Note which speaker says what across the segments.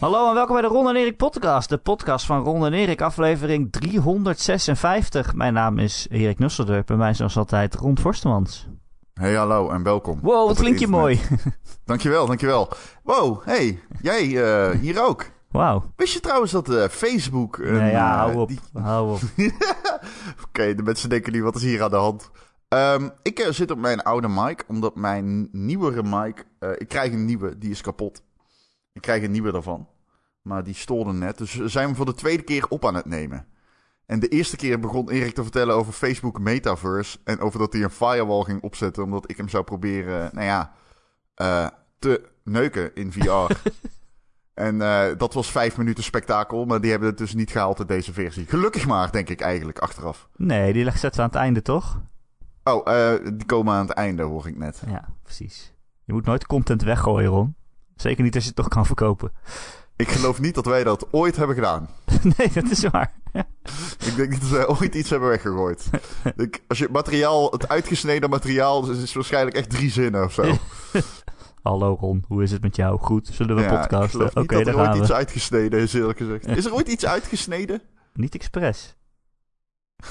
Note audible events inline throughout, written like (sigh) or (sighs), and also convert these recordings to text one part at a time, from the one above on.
Speaker 1: Hallo en welkom bij de Ron en Erik podcast. De podcast van Ron en Erik, aflevering 356. Mijn naam is Erik Nusseldorp en mij is zoals altijd Ron Forstemans.
Speaker 2: Hey, hallo en welkom.
Speaker 1: Wow,
Speaker 2: op
Speaker 1: wat
Speaker 2: het
Speaker 1: klinkt je
Speaker 2: internet.
Speaker 1: mooi.
Speaker 2: Dankjewel, dankjewel. Wow, hey, jij eh, hier ook.
Speaker 1: Wauw.
Speaker 2: Wist je trouwens dat eh, Facebook... een,
Speaker 1: Ja, Nou ja,
Speaker 2: eh,
Speaker 1: hou op,
Speaker 2: die-
Speaker 1: hou op.
Speaker 2: (laughs) Oké, de mensen denken nu, wat is hier aan de hand? Ehm, ik eh, zit op mijn oude mic, omdat mijn nieuwere mic... eh, ik krijg een nieuwe, die is kapot. Ik krijg een nieuwe daarvan. Maar die stoorde net, dus we zijn we voor de tweede keer op aan het nemen. En de eerste keer begon Erik te vertellen over Facebook Metaverse... en over dat hij een firewall ging opzetten... omdat ik hem zou proberen, nou ja, eh, te neuken in VR... En eh, dat was vijf minuten spektakel, maar die hebben het dus niet gehaald uit deze versie. Gelukkig maar, denk ik eigenlijk, achteraf.
Speaker 1: Nee, die legt zetten we aan het einde, toch?
Speaker 2: Oh, eh, die komen aan het einde, hoor ik net.
Speaker 1: Ja, precies. Je moet nooit content weggooien, Ron. Zeker niet als je het toch kan verkopen. (laughs)
Speaker 2: Ik geloof niet dat wij dat ooit hebben gedaan.
Speaker 1: nee, dat is waar.
Speaker 2: Ik denk niet dat wij ooit iets
Speaker 1: (laughs)
Speaker 2: hebben weggegooid. Ik, als je het materiaal, het uitgesneden materiaal, dus het is waarschijnlijk echt drie zinnen of zo.
Speaker 1: Hallo Ron, hoe is het met jou? Goed, zullen we
Speaker 2: Ja, ik
Speaker 1: podcasten?
Speaker 2: geloof
Speaker 1: Oké,
Speaker 2: niet dat
Speaker 1: daar
Speaker 2: er ooit
Speaker 1: gaan we.
Speaker 2: iets uitgesneden is, eerlijk gezegd. Is er ooit iets uitgesneden? (laughs)
Speaker 1: Niet expres.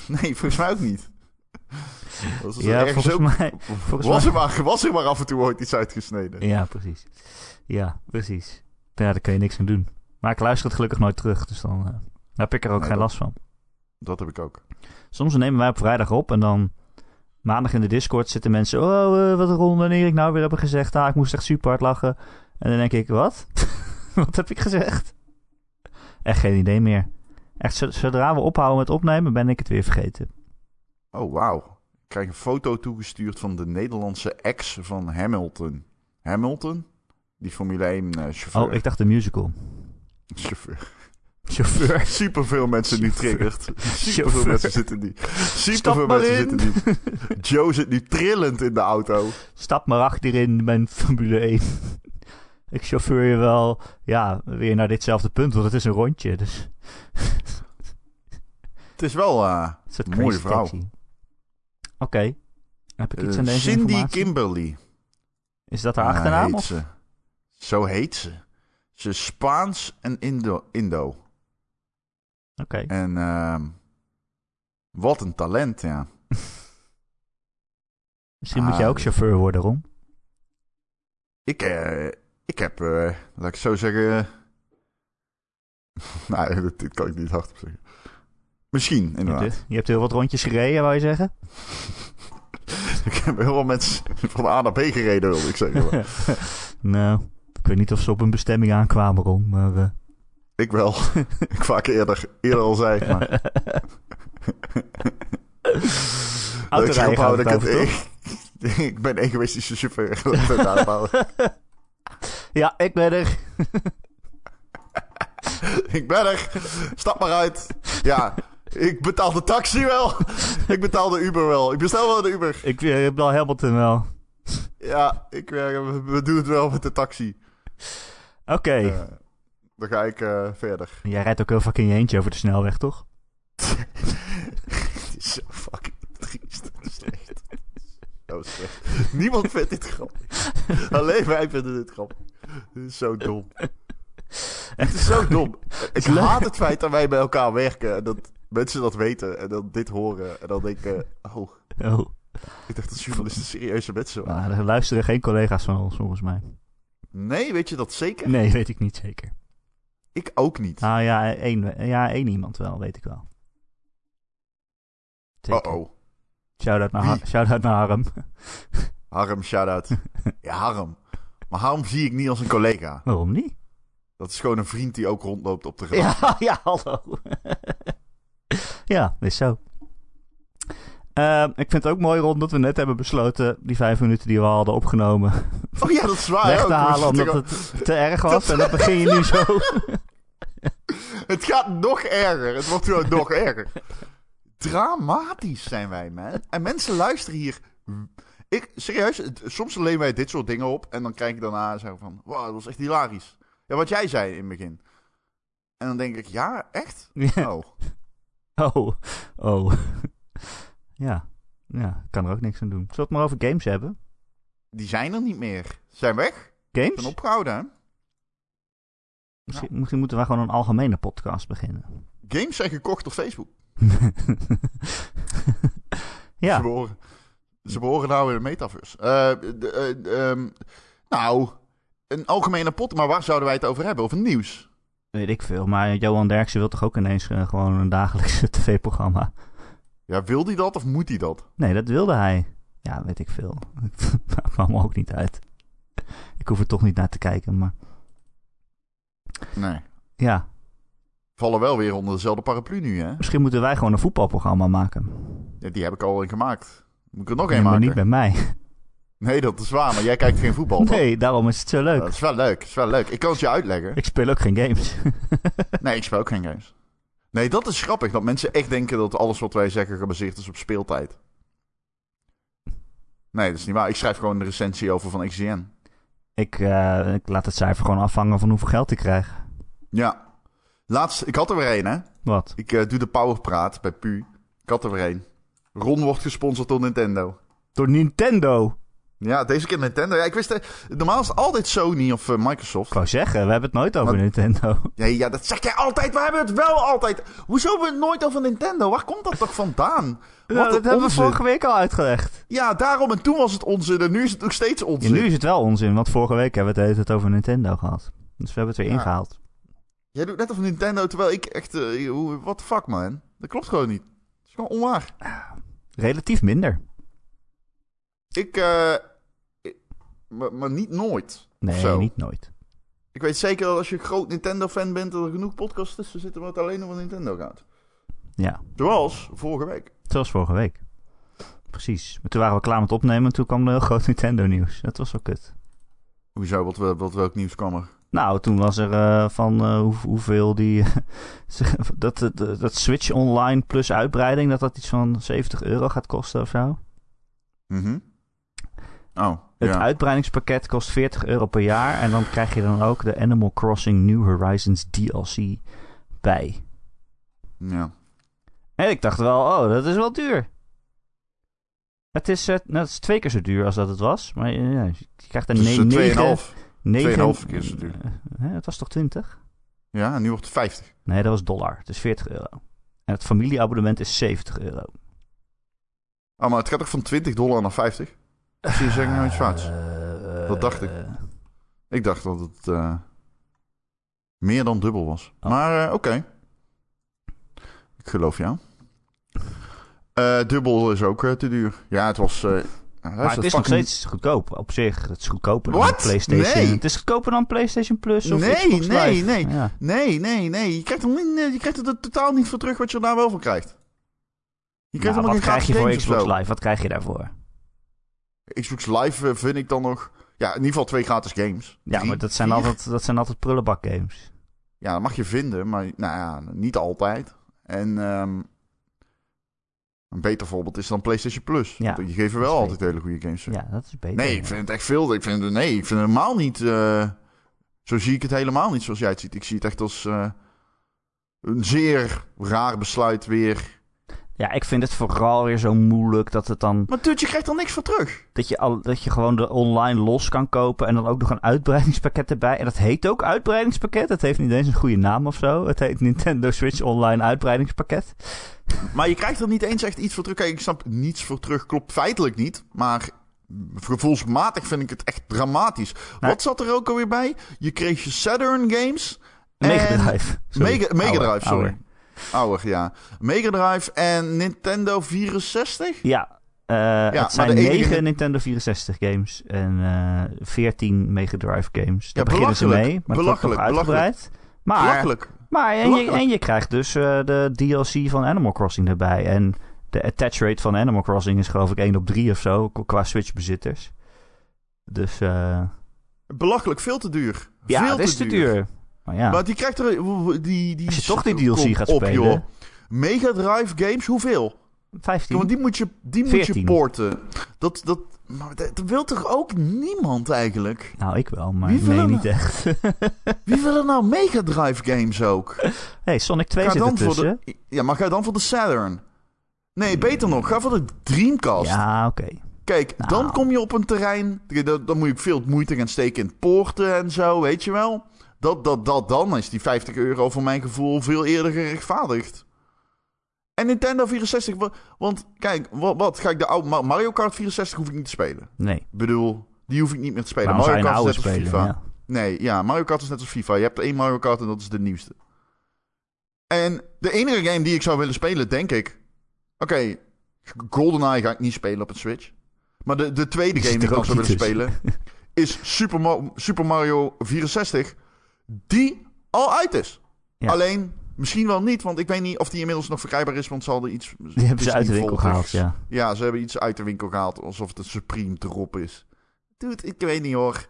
Speaker 2: Nee, volgens mij ook niet. Was er
Speaker 1: Ja,
Speaker 2: ergens
Speaker 1: volgens
Speaker 2: ook-
Speaker 1: mij...
Speaker 2: was,
Speaker 1: volgens
Speaker 2: Er maar, was er maar af en toe ooit iets uitgesneden?
Speaker 1: Ja, precies. Ja, precies. Ja, daar kun je niks aan doen. Maar ik luister het gelukkig nooit terug, dus dan eh, daar heb ik er ook
Speaker 2: Nee,
Speaker 1: geen
Speaker 2: dat-
Speaker 1: last van.
Speaker 2: Dat heb ik ook.
Speaker 1: Soms nemen wij op vrijdag op en dan maandag in de Discord zitten mensen... Oh, eh, wat Ron en Erik nou weer hebben gezegd. Ah, ik moest echt super hard lachen. En dan denk ik, wat? (laughs) wat heb ik gezegd? Echt geen idee meer. Echt, zo- zodra we ophouden met opnemen, ben ik het weer vergeten.
Speaker 2: Oh, wauw. Ik krijg een foto toegestuurd van de Nederlandse ex van Hamilton. Hamilton? Die Formule 1 eh, chauffeur.
Speaker 1: Oh, ik dacht de musical.
Speaker 2: Chauffeur. (laughs)
Speaker 1: Chauffeur.
Speaker 2: Superveel mensen nu
Speaker 1: Chauffeur.
Speaker 2: triggert. Superveel
Speaker 1: Chauffeur.
Speaker 2: mensen zitten nu. Superveel
Speaker 1: Stap maar
Speaker 2: mensen
Speaker 1: in.
Speaker 2: zitten
Speaker 1: (laughs)
Speaker 2: nu. Joe zit nu trillend in de auto.
Speaker 1: Stap maar achterin, mijn Formule 1. (laughs) Ik chauffeur je wel ja, weer naar ditzelfde punt, want het is een rondje. Dus (laughs)
Speaker 2: Het is wel eh,
Speaker 1: het is een
Speaker 2: Mooie
Speaker 1: crazy
Speaker 2: vrouw.
Speaker 1: taxi. Oké. Heb ik iets aan
Speaker 2: eh,
Speaker 1: deze
Speaker 2: Cindy
Speaker 1: informatie?
Speaker 2: Kimberly.
Speaker 1: Is dat haar
Speaker 2: Ah,
Speaker 1: achternaam?
Speaker 2: heet
Speaker 1: Of?
Speaker 2: ze. Zo heet ze. Ze is Spaans en Indo. Indo.
Speaker 1: Oké.
Speaker 2: (laughs) En ehm, wat een talent, ja.
Speaker 1: Misschien moet
Speaker 2: ah,
Speaker 1: jij ook chauffeur worden, Ron.
Speaker 2: Ik, eh, ik heb, eh, laat ik zo zeggen. (laughs) nee, (laughs) dit, dit kan ik niet hardop zeggen. Misschien,
Speaker 1: Je hebt,
Speaker 2: inderdaad.
Speaker 1: je hebt heel wat rondjes gereden, wou je zeggen?
Speaker 2: (laughs) ik heb heel veel mensen van A naar B gereden, wilde ik zeggen.
Speaker 1: (laughs)
Speaker 2: maar
Speaker 1: nou, ik weet niet of ze op hun bestemming aankwamen, Ron. Maar, eh,
Speaker 2: ik wel. (laughs) ik vaak eerder, eerder al zei. Maar...
Speaker 1: Autorijden
Speaker 2: Leuk,
Speaker 1: gaat
Speaker 2: ophouden,
Speaker 1: het
Speaker 2: ik,
Speaker 1: over,
Speaker 2: het- ik, (laughs) ik ben een egoïstische chauffeur. (laughs) Laat ik het aanhouden.
Speaker 1: ja, ik ben er.
Speaker 2: ik ben er. Stap maar uit. Ja, ik betaal de taxi wel. (laughs) ik betaal de Uber wel. Ik bestel wel de Uber.
Speaker 1: Ik eh, heb al Hamilton wel.
Speaker 2: Ja, ik, eh, we, we doen het wel met de taxi.
Speaker 1: Oké.
Speaker 2: Eh, dan ga ik eh, verder.
Speaker 1: Jij rijdt ook heel vaak in je eentje over de snelweg, toch?
Speaker 2: (laughs) Het is zo fucking triest en slecht. Zo slecht. Niemand vindt dit grappig. Alleen wij vinden dit grappig. Dit is zo dom. (laughs) Het is zo dom. Ik
Speaker 1: leuk.
Speaker 2: haat het feit dat wij bij elkaar werken. En dat mensen dat weten. En dat dit horen. En dan denken... Oh,
Speaker 1: (laughs) Oh,
Speaker 2: ik dacht dat journalisten serieuze mensen waren.
Speaker 1: maar er luisteren geen collega's van ons, volgens mij.
Speaker 2: Nee, weet je dat zeker?
Speaker 1: Nee, weet ik niet zeker.
Speaker 2: Ik ook niet.
Speaker 1: Ah ja, één, ja, één iemand wel, weet ik wel. Zeker.
Speaker 2: Oh-oh.
Speaker 1: Shout-out naar,
Speaker 2: Wie?
Speaker 1: Har- shout-out naar Harm.
Speaker 2: Harm, shout-out. (laughs) Ja, Harm. Maar Harm zie ik niet als een collega.
Speaker 1: Waarom niet?
Speaker 2: Dat is gewoon een vriend die ook rondloopt op de gracht.
Speaker 1: Ja, (laughs) ja, hallo. ja, is zo. Ehm, ik vind het ook mooi, Ron, dat we net hebben besloten... die vijf minuten die we al hadden opgenomen...
Speaker 2: Oh ja, dat is waar.
Speaker 1: weg te
Speaker 2: ook. We
Speaker 1: halen
Speaker 2: zitten
Speaker 1: omdat het te erg was. En dan begin je nu
Speaker 2: (laughs)
Speaker 1: zo...
Speaker 2: gewoon- Het gaat nog erger. Het wordt gewoon nog erger. Dramatisch zijn wij, man. En mensen luisteren hier... Ik, serieus, het- soms leen wij dit soort dingen op... en dan krijg ik daarna zo van... Wow, dat was echt hilarisch. Ja, wat jij zei in het begin. En dan denk ik, ja, echt?
Speaker 1: Ja.
Speaker 2: Oh.
Speaker 1: Oh, oh. ja, ja, ik kan er ook niks aan doen. Zullen we het maar over games hebben?
Speaker 2: Die zijn er niet meer. Ze Zijn weg. Ze
Speaker 1: Games?
Speaker 2: Zijn opgehouden, hè?
Speaker 1: Misschien, misschien moeten wij gewoon een algemene podcast beginnen. (laughs)
Speaker 2: Games zijn gekocht door Facebook. Ze,
Speaker 1: ja,
Speaker 2: behoren, ze behoren nou in de metaverse. Eh, de, eh, ehm, nou, een algemene pot, maar waar zouden wij het over hebben? Over nieuws.
Speaker 1: weet ik veel. Maar Johan Derksen wil toch ook ineens eh, gewoon een dagelijkse (laughs) tv-programma?
Speaker 2: Ja, wil die dat of moet die dat?
Speaker 1: Nee, dat wilde hij. Ja, weet ik veel. (laughs) Dat kwam me ook niet uit. Ik hoef er toch niet naar te kijken, maar
Speaker 2: Nee.
Speaker 1: ja.
Speaker 2: Vallen wel weer onder dezelfde paraplu nu, hè?
Speaker 1: Misschien moeten wij gewoon een voetbalprogramma maken.
Speaker 2: Ja, die heb ik al in gemaakt. Moet ik er nog
Speaker 1: Nee,
Speaker 2: een
Speaker 1: maar
Speaker 2: maken?
Speaker 1: niet bij mij.
Speaker 2: Nee, dat is waar, maar jij kijkt geen voetbal. toch?
Speaker 1: (laughs) Nee, daarom is het zo leuk.
Speaker 2: Dat is wel leuk, dat is wel leuk. Ik kan het je uitleggen.
Speaker 1: Ik speel ook geen games. (laughs)
Speaker 2: Nee, ik speel ook geen games. Nee, dat is grappig. Dat mensen echt denken dat alles wat wij zeggen gebaseerd is op speeltijd. Nee, dat is niet waar. Ik schrijf gewoon een recensie over van XCN.
Speaker 1: Ik, eh, ik laat het cijfer gewoon afhangen van hoeveel geld ik krijg.
Speaker 2: Ja. Laatst, ik had er weer een, hè.
Speaker 1: Wat?
Speaker 2: Ik eh, doe de powerpraat bij Pu. Ik had er weer een. Ron wordt gesponsord door Nintendo.
Speaker 1: Door Nintendo.
Speaker 2: Ja, deze keer Nintendo. Ja, ik wist... eh, normaal is het altijd Sony of eh, Microsoft.
Speaker 1: Ik wou zeggen, we hebben het nooit over
Speaker 2: Wat?
Speaker 1: Nintendo.
Speaker 2: Nee, ja, dat zeg jij altijd. We hebben het wel altijd. Hoezo hebben we het nooit over Nintendo? Waar komt dat toch
Speaker 1: (laughs)
Speaker 2: vandaan? Wat
Speaker 1: Nou, dat
Speaker 2: een
Speaker 1: hebben we
Speaker 2: onzin.
Speaker 1: vorige week al uitgelegd.
Speaker 2: Ja, daarom. En toen was het onzin en nu is het nog steeds
Speaker 1: Ja,
Speaker 2: onzin.
Speaker 1: nu is het wel onzin, want vorige week hebben we het de hele tijd over Nintendo gehad. Dus we hebben het weer
Speaker 2: Ja.
Speaker 1: ingehaald.
Speaker 2: Jij doet net of Nintendo, terwijl ik echt... eh, hoe- what the fuck, man? Dat klopt gewoon niet. Dat is gewoon onwaar.
Speaker 1: Relatief minder.
Speaker 2: Ik... eh, ik- maar, maar niet nooit.
Speaker 1: Nee,
Speaker 2: Zo.
Speaker 1: niet nooit.
Speaker 2: Ik weet zeker dat als je groot Nintendo-fan bent... dat er genoeg podcasts tussen zitten waar het alleen over Nintendo gaat.
Speaker 1: Ja,
Speaker 2: Zoals vorige week.
Speaker 1: zoals vorige week. Precies. Maar toen waren we klaar met opnemen en toen kwam er heel (laughs) groot Nintendo nieuws. Dat was wel kut.
Speaker 2: Hoezo? Wat, wat, wat welk nieuws kwam er?
Speaker 1: Nou, toen was er eh, van eh, hoe- hoeveel die... (laughs) ze- dat, dat, dat Switch Online plus uitbreiding, dat dat iets van 70 euro gaat kosten of zo.
Speaker 2: Mhm. Oh,
Speaker 1: Het
Speaker 2: ja.
Speaker 1: uitbreidingspakket kost 40 euro per jaar. En dan krijg je dan ook de Animal Crossing New Horizons DLC bij.
Speaker 2: ja.
Speaker 1: En ik dacht wel, oh, dat is wel duur. Het is, eh, nou, het is twee keer zo duur als dat het was. Maar eh, ja, je krijgt er
Speaker 2: Het is, eh,
Speaker 1: 9...
Speaker 2: 2,5.
Speaker 1: 2,5
Speaker 2: 2,5 keer zo duur.
Speaker 1: Eh, Het was toch 20?
Speaker 2: Ja, en nu wordt het 50.
Speaker 1: Nee, dat was dollar. Het is 40 euro. En het familieabonnement is 70 euro.
Speaker 2: Ah, maar het gaat ook van 20 dollar naar 50? Precies, zeg ik nou iets fouts?
Speaker 1: Eh,
Speaker 2: Dat dacht ik.
Speaker 1: eh,
Speaker 2: Ik dacht dat het eh, meer dan dubbel was.
Speaker 1: Oh.
Speaker 2: Maar eh, oké. Ik geloof jou. Eh, dubbel is ook eh, te duur. Ja, het was... eh,
Speaker 1: Maar het is nog
Speaker 2: fucking-
Speaker 1: steeds goedkoop op zich. Het is goedkoper dan
Speaker 2: Wat?
Speaker 1: PlayStation.
Speaker 2: Nee.
Speaker 1: Het is goedkoper dan PlayStation Plus of
Speaker 2: Nee,
Speaker 1: Xbox
Speaker 2: nee,
Speaker 1: Live.
Speaker 2: nee.
Speaker 1: Ja.
Speaker 2: Nee, nee, nee. Je krijgt, er, niet- nee, je krijgt er totaal niet voor terug wat je er daar wel voor krijgt. Je
Speaker 1: Nou,
Speaker 2: krijgt helemaal
Speaker 1: wat
Speaker 2: geen
Speaker 1: krijg
Speaker 2: gratis
Speaker 1: je voor
Speaker 2: games of
Speaker 1: Xbox
Speaker 2: zo.
Speaker 1: Live? Wat krijg je daarvoor?
Speaker 2: Xbox Live eh, vind ik dan nog... Ja, in ieder geval twee gratis games.
Speaker 1: Ja,
Speaker 2: Drie,
Speaker 1: maar dat zijn,
Speaker 2: vier?
Speaker 1: altijd, dat zijn altijd prullenbak games.
Speaker 2: Ja, dat mag je vinden, maar nou ja, niet altijd. En ehm, een beter voorbeeld is dan PlayStation Plus.
Speaker 1: Ja,
Speaker 2: Want die geven
Speaker 1: dat
Speaker 2: wel
Speaker 1: is
Speaker 2: altijd hele goede games.
Speaker 1: Ja, dat is beter.
Speaker 2: nee, ik vind het echt veel. Ik vind het, nee, ik vind het helemaal niet. eh, zo zie ik het helemaal niet zoals jij het ziet. Ik zie het echt als eh, een zeer raar besluit weer.
Speaker 1: Ja, ik vind het vooral weer zo moeilijk dat het dan...
Speaker 2: Maar dude, je krijgt er niks voor terug.
Speaker 1: Dat je, al, dat je gewoon de online los kan kopen en dan ook nog een uitbreidingspakket erbij. En dat heet ook uitbreidingspakket. Het heeft niet eens een goede naam of zo. Het heet Nintendo Switch Online Uitbreidingspakket.
Speaker 2: Maar je krijgt er niet eens echt iets voor terug. Kijk, ik snap niets voor terug. Klopt feitelijk niet. Maar gevoelsmatig vind ik het echt dramatisch.
Speaker 1: Nee.
Speaker 2: Wat zat er ook alweer bij? Je kreeg je Saturn games.
Speaker 1: Mega
Speaker 2: En-
Speaker 1: Drive. Sorry.
Speaker 2: Mega, Mega
Speaker 1: Ouder,
Speaker 2: Drive, sorry.
Speaker 1: ouder.
Speaker 2: Ouder. ja. Mega Drive en Nintendo 64?
Speaker 1: Ja, eh,
Speaker 2: maar
Speaker 1: het zijn
Speaker 2: de enige-
Speaker 1: 9 Nintendo 64 games en eh 14 Mega Drive games. Daar
Speaker 2: Ja,
Speaker 1: beginnen ze
Speaker 2: belachelijk.
Speaker 1: mee, maar het wordt nog
Speaker 2: Belachelijk,
Speaker 1: uitgebreid. Maar,
Speaker 2: Belachelijk.
Speaker 1: maar en, je,
Speaker 2: Belachelijk.
Speaker 1: en je krijgt dus eh, de DLC van Animal Crossing erbij. En de attach rate van Animal Crossing is geloof ik 1 op 3 of zo, k- qua Switch bezitters. Dus eh,
Speaker 2: Belachelijk, veel te duur.
Speaker 1: ja,
Speaker 2: veel
Speaker 1: het is te duur. Maar ja,
Speaker 2: Maar die krijgt er... Die, die,
Speaker 1: Als je toch die DLC
Speaker 2: kom
Speaker 1: gaat
Speaker 2: op,
Speaker 1: spelen.
Speaker 2: Joh. Mega Drive games, hoeveel?
Speaker 1: 15.
Speaker 2: Want die moet je, die moet je
Speaker 1: 14.
Speaker 2: porten. Dat, dat, maar dat, dat wil toch ook niemand eigenlijk?
Speaker 1: Nou, ik wel, maar
Speaker 2: Wie wil
Speaker 1: nee,
Speaker 2: er
Speaker 1: niet echt. (laughs)
Speaker 2: Wie wil er nou Mega Drive games ook?
Speaker 1: hey, Sonic 2 zit
Speaker 2: dan voor
Speaker 1: ertussen.
Speaker 2: de, ja, maar ga dan voor de Saturn. Nee, beter nog, ga voor de Dreamcast.
Speaker 1: Ja, oké.
Speaker 2: Kijk,
Speaker 1: Nou.
Speaker 2: dan kom je op een terrein. Dan, dan moet je veel moeite gaan steken in poorten en zo, weet je wel. Dat, dat, dat dan is die 50 euro voor mijn gevoel veel eerder gerechtvaardigd. En Nintendo 64, wa- want kijk, wat, wat ga ik de oude Ma- Mario Kart 64 hoef ik niet te spelen.
Speaker 1: Nee.
Speaker 2: Ik bedoel, die hoef ik niet meer te spelen.
Speaker 1: Waarom zou je een oude
Speaker 2: is net als
Speaker 1: spelen?
Speaker 2: FIFA.
Speaker 1: Ja.
Speaker 2: Nee, ja, Mario Kart is net als FIFA. Je hebt één Mario Kart en dat is de nieuwste. En de enige game die ik zou willen spelen, denk ik. Oké, GoldenEye ga ik niet spelen op een Switch. Maar de,
Speaker 1: (laughs)
Speaker 2: de tweede
Speaker 1: Zit
Speaker 2: game die
Speaker 1: er
Speaker 2: ik ook
Speaker 1: ook
Speaker 2: zou willen
Speaker 1: niet
Speaker 2: spelen
Speaker 1: (laughs)
Speaker 2: is Super, Ma- Super Mario 64. Die al uit is.
Speaker 1: Ja.
Speaker 2: Alleen, misschien wel niet, want ik weet niet of die inmiddels nog verkrijgbaar is. Want ze hadden iets.
Speaker 1: Die hebben ze uit de winkel gehaald,
Speaker 2: ja.
Speaker 1: ja.
Speaker 2: Ja, ze hebben iets uit de winkel gehaald alsof het een Supreme drop is. Dude, ik weet niet hoor.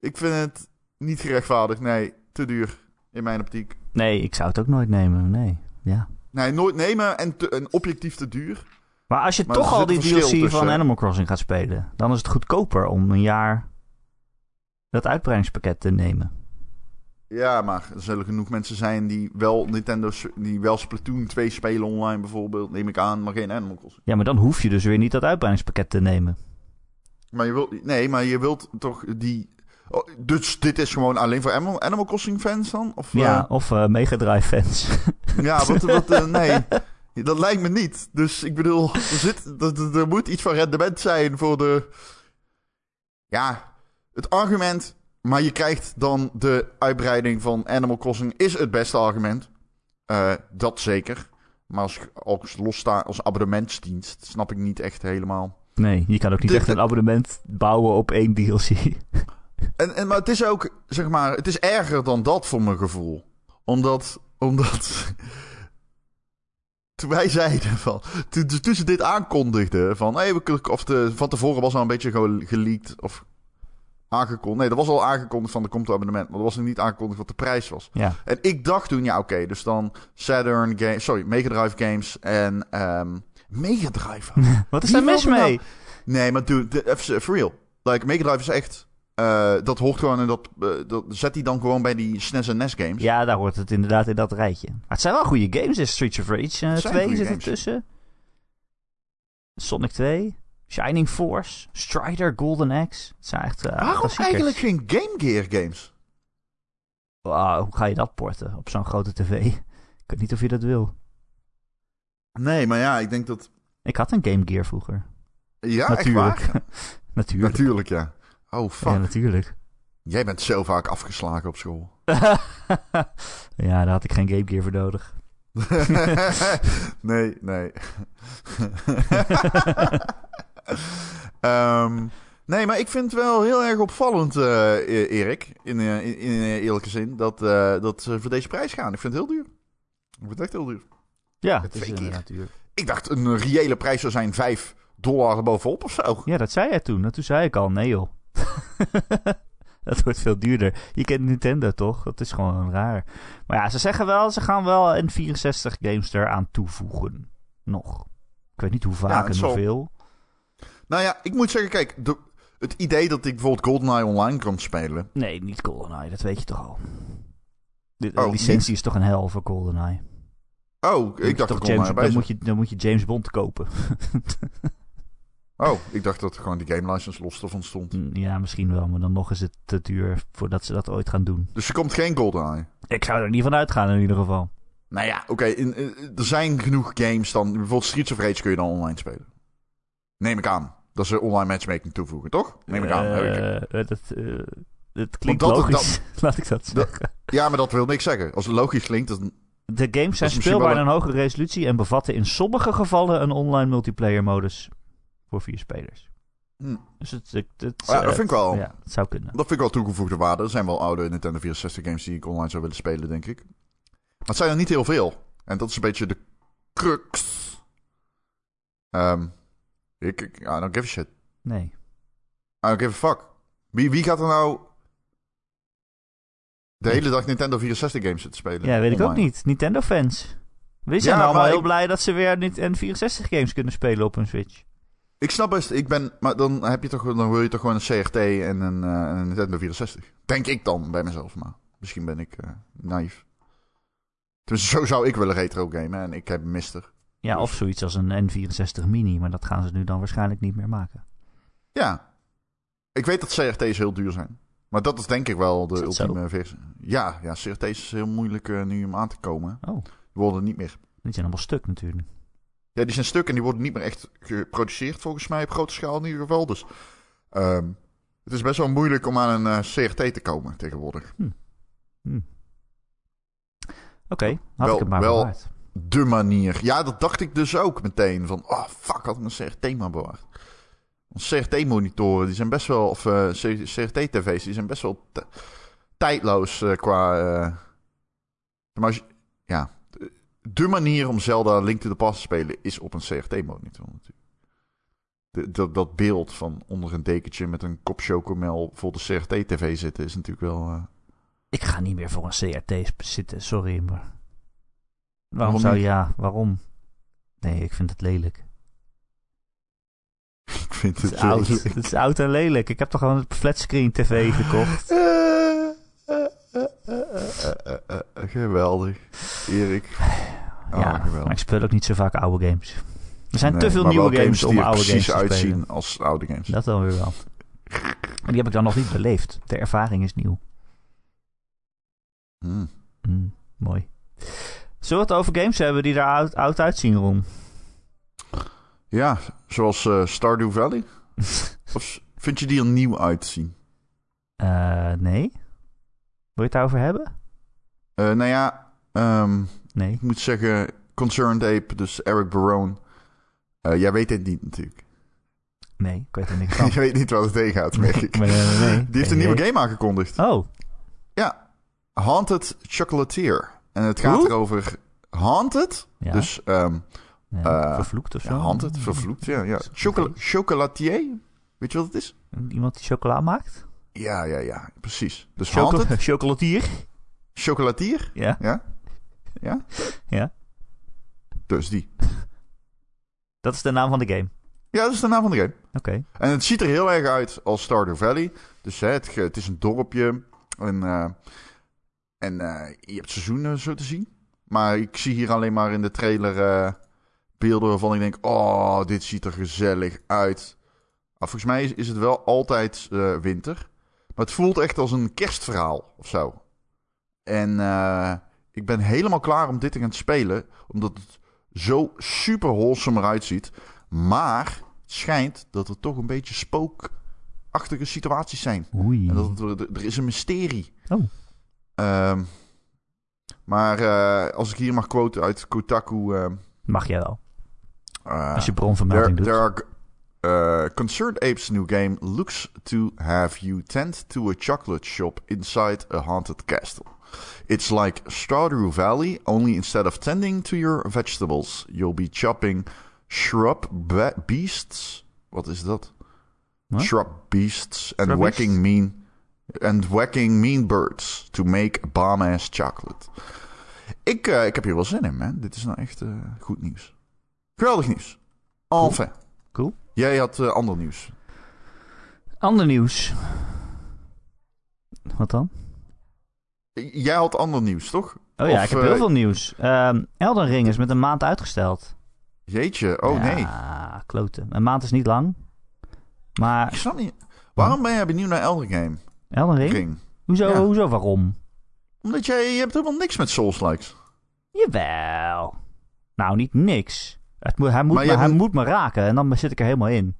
Speaker 2: Ik vind het niet gerechtvaardigd. Nee, te duur in mijn optiek.
Speaker 1: Nee, ik zou het ook nooit nemen, nee. Ja.
Speaker 2: Nee, nooit nemen en, te- en objectief te duur.
Speaker 1: Maar als je
Speaker 2: Maar er
Speaker 1: toch al
Speaker 2: zit
Speaker 1: die
Speaker 2: een verschil
Speaker 1: DLC van
Speaker 2: tussen.
Speaker 1: Animal Crossing gaat spelen, dan is het goedkoper om een jaar dat uitbreidingspakket te nemen.
Speaker 2: Ja, maar er zullen genoeg mensen zijn die wel Nintendo, die wel Splatoon 2 spelen online bijvoorbeeld, neem ik aan, maar geen Animal Crossing.
Speaker 1: Ja, maar dan hoef je dus weer niet dat uitbreidingspakket te nemen.
Speaker 2: Maar je wilt, nee, maar je wilt toch die. Oh, dus dit is gewoon alleen voor Animal, Animal Crossing fans dan? Of,
Speaker 1: Ja, of eh Mega Drive fans. (laughs)
Speaker 2: eh, ja, wat, wat eh, nee. Dat lijkt me niet. Dus ik bedoel, er, zit, er, er- er moet iets van rendement zijn voor de. Ja, het argument. Maar je krijgt dan de uitbreiding van Animal Crossing is het beste argument. Eh, dat zeker. Maar als, als lossta als abonnementsdienst snap ik niet echt helemaal.
Speaker 1: Nee, je kan ook niet
Speaker 2: Dit-
Speaker 1: echt een abonnement bouwen op één
Speaker 2: (laughs)
Speaker 1: DLC.
Speaker 2: En, en, maar het is ook, zeg maar, het is erger dan dat voor mijn gevoel. Omdat, omdat (laughs) toen wij zeiden van, toen, toen ze dit aankondigden van, hey, we kunnen, of de, van tevoren was al een beetje gewoon geleakt of aangekondigd. Nee, dat was al aangekondigd van, er komt een abonnement, maar dat was nog niet aangekondigd wat de prijs was.
Speaker 1: Ja,
Speaker 2: En ik dacht toen, ja, oké, dus dan Saturn Games, sorry, Mega Drive Games en ehm Mega Drive.
Speaker 1: wat is
Speaker 2: Wie
Speaker 1: daar mis
Speaker 2: wil er nou-
Speaker 1: mee?
Speaker 2: Nee, maar dude, de- even for real. Like, Mega Drive is echt... eh, dat hoort gewoon en dat, eh, dat zet hij dan gewoon bij die SNES en NES games.
Speaker 1: Ja, daar hoort het inderdaad in dat rijtje. Maar het zijn wel goede games. Is Streets of Rage eh,
Speaker 2: Het zijn
Speaker 1: 2
Speaker 2: goede
Speaker 1: zit er
Speaker 2: games.
Speaker 1: tussen. Sonic 2. Shining Force. Strider. Golden Axe. Het zijn echt eh,
Speaker 2: Waarom
Speaker 1: klassiekers.
Speaker 2: eigenlijk geen Game Gear games?
Speaker 1: Wauw, Ah, hoe ga je dat porten op zo'n grote tv? (laughs) Ik weet niet of je dat wil.
Speaker 2: Nee, maar ja, ik denk dat...
Speaker 1: Ik had een Game Gear vroeger.
Speaker 2: Ja,
Speaker 1: natuurlijk.
Speaker 2: Ah, echt waar?
Speaker 1: natuurlijk. (laughs)
Speaker 2: Natuurlijk, ja. Oh, fuck.
Speaker 1: Ja, natuurlijk. (laughs)
Speaker 2: Jij bent zo vaak afgeslagen op school.
Speaker 1: ja, daar had ik geen Game Gear voor nodig.
Speaker 2: (laughs) nee,
Speaker 1: (laughs)
Speaker 2: nee. Ehm, nee, maar ik vind het wel heel erg opvallend, eh, E- Erik, in, eh, in, in eh, eerlijke zin, dat, eh, dat ze voor deze prijs gaan. Ik vind het heel duur. Ik vind het echt heel duur.
Speaker 1: Ja,
Speaker 2: Twee keer.
Speaker 1: natuurlijk.
Speaker 2: Ik dacht een reële prijs zou zijn 5 dollar erbovenop of zo.
Speaker 1: Ja, dat zei jij toen. Nou, toen zei ik al, nee joh. (laughs) dat wordt veel duurder. Je kent Nintendo toch? Dat is gewoon raar. Maar ja, ze zeggen wel, ze gaan wel een 64 games eraan toevoegen. Nog. Ik weet niet hoe vaak
Speaker 2: het
Speaker 1: en
Speaker 2: zal.
Speaker 1: hoeveel.
Speaker 2: Nou ja, ik moet zeggen, kijk, de- het idee dat ik bijvoorbeeld GoldenEye online kan spelen.
Speaker 1: Nee, niet GoldenEye, dat weet je toch al. De, de
Speaker 2: Oh,
Speaker 1: licentie is toch een hel voor GoldenEye.
Speaker 2: Oh, ik dacht
Speaker 1: toch
Speaker 2: dat
Speaker 1: James,
Speaker 2: GoldenEye bij
Speaker 1: dan,
Speaker 2: zou- Hm.
Speaker 1: moet je, dan moet je James Bond kopen.
Speaker 2: Oh, ik dacht dat gewoon die game license los ervan stond.
Speaker 1: Mm, ja, misschien wel, maar dan nog is het te duur voordat ze dat ooit gaan doen.
Speaker 2: Dus er komt geen GoldenEye.
Speaker 1: Ik zou er niet van uitgaan in ieder geval.
Speaker 2: Nou ja, oké. in- in- er zijn genoeg games dan. Bijvoorbeeld Streets of Rage kun je dan online spelen. Neem ik aan. Dat ze online matchmaking toevoegen, toch? Neem ik aan.
Speaker 1: Eh,
Speaker 2: Heb ik-
Speaker 1: eh, dat, eh, dat klinkt
Speaker 2: dat-
Speaker 1: logisch, (laughs) laat ik dat
Speaker 2: Dat-
Speaker 1: zeggen.
Speaker 2: Ja, maar dat wil niks zeggen. Als het logisch klinkt, dan... Oh
Speaker 1: De games zijn
Speaker 2: is misschien wel
Speaker 1: speelbaar in een hogere resolutie en bevatten in sommige gevallen een online multiplayer modus voor vier spelers.
Speaker 2: Hm. Oh
Speaker 1: Dus het, het, het-
Speaker 2: Ja,
Speaker 1: eh,
Speaker 2: dat vind ik wel.
Speaker 1: ja, het zou kunnen.
Speaker 2: Dat vind ik wel toegevoegde waarde. Er zijn wel oude Nintendo 64 games die ik online zou willen spelen, denk ik. Maar het zijn er niet heel veel. En dat is een beetje de crux. Ehm ik, ik- I don't give a shit.
Speaker 1: Nee.
Speaker 2: I don't give a fuck. Wie, wie gaat er nou de hele dag Nintendo 64 games zitten spelen?
Speaker 1: Ja, weet ik ook
Speaker 2: Online.
Speaker 1: niet. Nintendo-fans. We zijn
Speaker 2: maar
Speaker 1: allemaal heel
Speaker 2: ik-
Speaker 1: blij dat ze weer niet N64 games kunnen spelen op hun Switch.
Speaker 2: Ik snap best, ik ben, maar dan, heb je toch, dan wil je toch gewoon een CRT en een, eh, en een Nintendo 64. Denk ik dan bij mezelf, maar misschien ben ik eh naïef. Tenminste, zo zou ik willen retro gamen en ik heb Mister.
Speaker 1: Ja, of zoiets als een N64 Mini, maar dat gaan ze nu dan waarschijnlijk niet meer maken.
Speaker 2: Ja. Ik weet dat CRT's heel duur zijn. Maar dat is denk ik wel de
Speaker 3: Is dat zo?
Speaker 2: ultieme versie. Ja, ja, CRT is heel moeilijk eh, nu om aan te komen.
Speaker 1: Oh,
Speaker 2: Die worden niet meer.
Speaker 1: die zijn allemaal stuk natuurlijk.
Speaker 2: Ja, die zijn stuk en die worden niet meer echt geproduceerd volgens mij op grote schaal in ieder geval. Dus ehm, het is best wel moeilijk om aan een eh, CRT te komen tegenwoordig.
Speaker 1: Oké, had
Speaker 2: Wel-
Speaker 1: ik het maar
Speaker 2: wel-
Speaker 1: bewaard.
Speaker 2: De manier. Ja, dat dacht ik dus ook meteen. Van, oh fuck, had ik mijn CRT maar bewaard. Want CRT-monitoren, die zijn best wel, of eh, C- CRT-tv's, die zijn best wel t- tijdloos eh, qua... eh, maar als je- ja, de- de manier om Zelda Link to the Past te spelen is op een CRT-monitor natuurlijk. De- dat, dat beeld van onder een dekentje met een kop chocomel voor de CRT-tv zitten is natuurlijk wel... eh, (laughs)
Speaker 1: Ik ga niet meer voor een CRT sp- zitten, sorry. Maar... Waarom,
Speaker 2: Waarom
Speaker 1: zou je...
Speaker 2: niet?
Speaker 1: Ja, waarom? Nee, ik vind het lelijk.
Speaker 2: ik vind
Speaker 1: Het
Speaker 2: het...
Speaker 1: is
Speaker 2: heel
Speaker 1: oud. (laughs)
Speaker 2: leuk.
Speaker 1: Het is oud en lelijk. Ik heb toch gewoon een flatscreen
Speaker 2: (laughs)
Speaker 1: tv gekocht.
Speaker 2: Eh, eh, eh, eh, eh, eh, eh, eh, Geweldig, Erik. Oh,
Speaker 1: ja,
Speaker 2: geweldig.
Speaker 1: maar ik speel ook niet zo vaak oude games. Er zijn te
Speaker 2: Nee,
Speaker 1: veel
Speaker 2: maar wel
Speaker 1: nieuwe games, om
Speaker 2: die er
Speaker 1: oude
Speaker 2: precies
Speaker 1: games te
Speaker 2: uitzien
Speaker 1: spelen.
Speaker 2: als oude games.
Speaker 1: Dat dan weer wel. Maar die heb ik dan nog niet beleefd. De ervaring is nieuw.
Speaker 2: Hmm.
Speaker 1: Hmm, mooi. Zullen we het over games hebben die er oud, oud uitzien, Ron? (laughs)
Speaker 2: Ja, zoals eh, Stardew Valley. Of s- vind je die er nieuw uit te zien?
Speaker 1: Eh, nee. Wil je het daarover hebben?
Speaker 2: Eh, nou ja, ehm,
Speaker 1: Nee.
Speaker 2: ik moet zeggen, Concerned Ape, dus Eric Barone. Eh, jij weet dit niet natuurlijk.
Speaker 1: Nee, ik weet er niks
Speaker 2: (laughs)
Speaker 1: van.
Speaker 2: Je weet niet wat het tegenhoudt, merk ik.
Speaker 1: Maar, eh, Oh. (laughs) nee,
Speaker 2: Die heeft een
Speaker 1: nee.
Speaker 2: nieuwe game aangekondigd.
Speaker 1: Oh,
Speaker 2: Haunted Chocolatier. En het gaat
Speaker 1: Hoe?
Speaker 2: erover Haunted,
Speaker 1: ja.
Speaker 2: dus ehm,
Speaker 1: Ja,
Speaker 2: eh,
Speaker 1: vervloekt of zo.
Speaker 2: Ja, handelt, vervloekt. Ja, ja. Chocola chocolatier? Weet je wat het is?
Speaker 1: Mm, Iemand die chocola maakt?
Speaker 2: Ja, ja, ja, precies. Dus
Speaker 1: Choco-
Speaker 2: handelt,
Speaker 1: (laughs) Chocolatier?
Speaker 2: chocolatier,
Speaker 1: Ja.
Speaker 2: dus die.
Speaker 1: Dat is de naam van de game.
Speaker 2: Ja, dat is de naam van de game.
Speaker 1: Oké.
Speaker 2: En het ziet er heel erg uit als Stardew Valley. Dus hè, het, ge- het is een dorpje. En, eh, en eh, je hebt seizoenen zo te zien. Maar ik zie hier alleen maar in de trailer eh, beelden waarvan ik denk... Oh, dit ziet er gezellig uit. Maar volgens mij is, is het wel altijd eh, winter. Maar het voelt echt als een kerstverhaal of zo. En eh, ik ben helemaal klaar om dit te gaan spelen. Omdat het zo super wholesome eruit ziet. Maar schijnt dat er toch een beetje spookachtige situaties zijn.
Speaker 1: Oei.
Speaker 2: En dat het, er- er is een mysterie.
Speaker 1: Mm. Oh.
Speaker 2: Ehm, maar eh, als ik hier mag quoten uit Kotaku... ehm,
Speaker 1: Mag jij wel.
Speaker 2: eh,
Speaker 1: Als je
Speaker 2: there,
Speaker 1: bronvermelding doet.
Speaker 2: there are... eh, Concerned Apes' new game looks to have you tend to a chocolate shop inside a haunted castle. It's like Stardew Valley, only instead of tending to your vegetables, you'll be chopping shrub be- beasts. Wat is dat?
Speaker 1: Huh?
Speaker 2: Shrub beasts and
Speaker 1: Shrub
Speaker 2: whacking mean and whacking mean birds to make bomb ass chocolate. Ik, eh, ik heb hier wel zin in, man. Dit is nou echt eh, goed nieuws. Geweldig nieuws. Enfin.
Speaker 1: Cool.
Speaker 2: Jij had eh, ander nieuws.
Speaker 1: Ander nieuws. Wat dan?
Speaker 2: Jij had ander nieuws, toch?
Speaker 1: Oh ja,
Speaker 2: Of,
Speaker 1: ik heb
Speaker 2: eh,
Speaker 1: heel veel nieuws. Ehm Elden Ring is met een maand uitgesteld.
Speaker 2: Jeetje, oh
Speaker 1: ja,
Speaker 2: nee.
Speaker 1: kloten. Een maand is niet lang.
Speaker 2: Ik
Speaker 1: Maar
Speaker 2: snap niet. Waarom ben jij benieuwd naar Elder Game?
Speaker 1: Elden Ring?
Speaker 2: Ring?
Speaker 1: Hoezo,
Speaker 2: Ja.
Speaker 1: hoezo, waarom?
Speaker 2: Omdat jij je hebt helemaal niks met Souls-likes.
Speaker 1: Jawel. Nou, niet niks. Het moet, hij moet,
Speaker 2: Maar
Speaker 1: me,
Speaker 2: je
Speaker 1: hij
Speaker 2: moet-
Speaker 1: moet me raken en dan zit ik er helemaal in.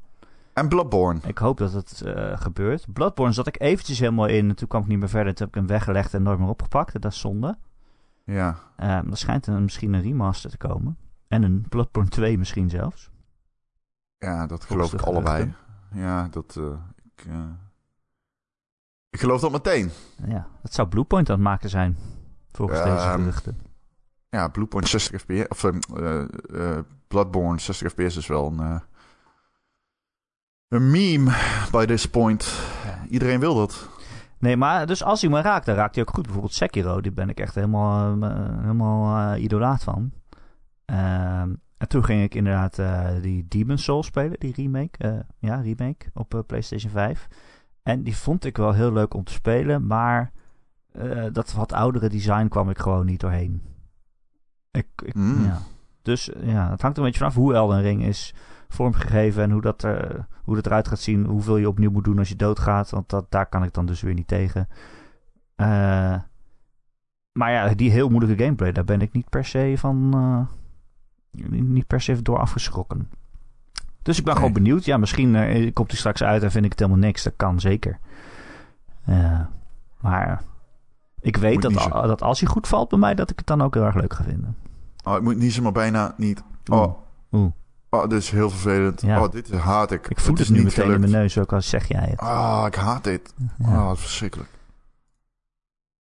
Speaker 2: En Bloodborne.
Speaker 1: Ik hoop dat het eh, gebeurt. Bloodborne zat ik eventjes helemaal in en toen kwam ik niet meer verder. Toen heb ik hem weggelegd en nooit meer opgepakt. En dat is zonde.
Speaker 2: Ja.
Speaker 1: Ehm, er schijnt een, misschien een remaster te komen. En een Bloodborne 2 misschien zelfs.
Speaker 2: Ja, dat
Speaker 1: Volgens
Speaker 2: geloof ik
Speaker 1: de
Speaker 2: allebei. Ja, dat. eh, ik, eh, ik geloof dat meteen.
Speaker 1: Ja, dat zou Bluepoint aan het maken zijn. Volgens
Speaker 2: Ehm,
Speaker 1: deze geruchten.
Speaker 2: Ja, Bluepoint 60 FPS. Of eh, eh, eh, Bloodborne 60 FPS is wel een. eh, een meme by this point. Iedereen wil dat.
Speaker 1: Nee, maar dus als hij me raakt, dan raakt hij ook goed. Bijvoorbeeld Sekiro, die ben ik echt helemaal, eh, eh, helemaal eh, idolaat van. Ehm, en toen ging ik inderdaad eh, die Demon Soul spelen, die remake. eh, ja, remake op eh, PlayStation 5. En die vond ik wel heel leuk om te spelen, maar eh, dat wat oudere design kwam ik gewoon niet doorheen. Ik, ik,
Speaker 2: Mm.
Speaker 1: ja. Dus eh, ja, het hangt er een beetje vanaf hoe Elden Ring is vormgegeven. En hoe dat, er, hoe dat eruit gaat zien. Hoeveel je opnieuw moet doen als je doodgaat. Want dat, daar kan ik dan dus weer niet tegen. Eh, maar ja, die heel moeilijke gameplay, daar ben ik niet per se van. eh, niet per se door afgeschrokken. Dus ik ben
Speaker 2: Nee.
Speaker 1: gewoon benieuwd. Ja, misschien eh, komt die straks uit en vind ik het helemaal niks. Dat kan zeker. Eh, maar ik weet
Speaker 2: Moet
Speaker 1: dat,
Speaker 2: niet
Speaker 1: al- dat als hij goed valt bij mij, dat ik het dan ook heel erg leuk ga vinden.
Speaker 2: Oh, ik moet niet zomaar bijna niet.
Speaker 1: Oeh,
Speaker 2: Oh,
Speaker 1: oeh.
Speaker 2: oh, dit is heel vervelend.
Speaker 1: Ja.
Speaker 2: Oh, dit is- haat ik.
Speaker 1: Ik voel het
Speaker 2: Dit is
Speaker 1: nu
Speaker 2: niet
Speaker 1: meteen in
Speaker 2: gelukt.
Speaker 1: mijn neus, ook al zeg jij het.
Speaker 2: Ah, ik haat dit.
Speaker 1: Ja.
Speaker 2: Ah, wat verschrikkelijk.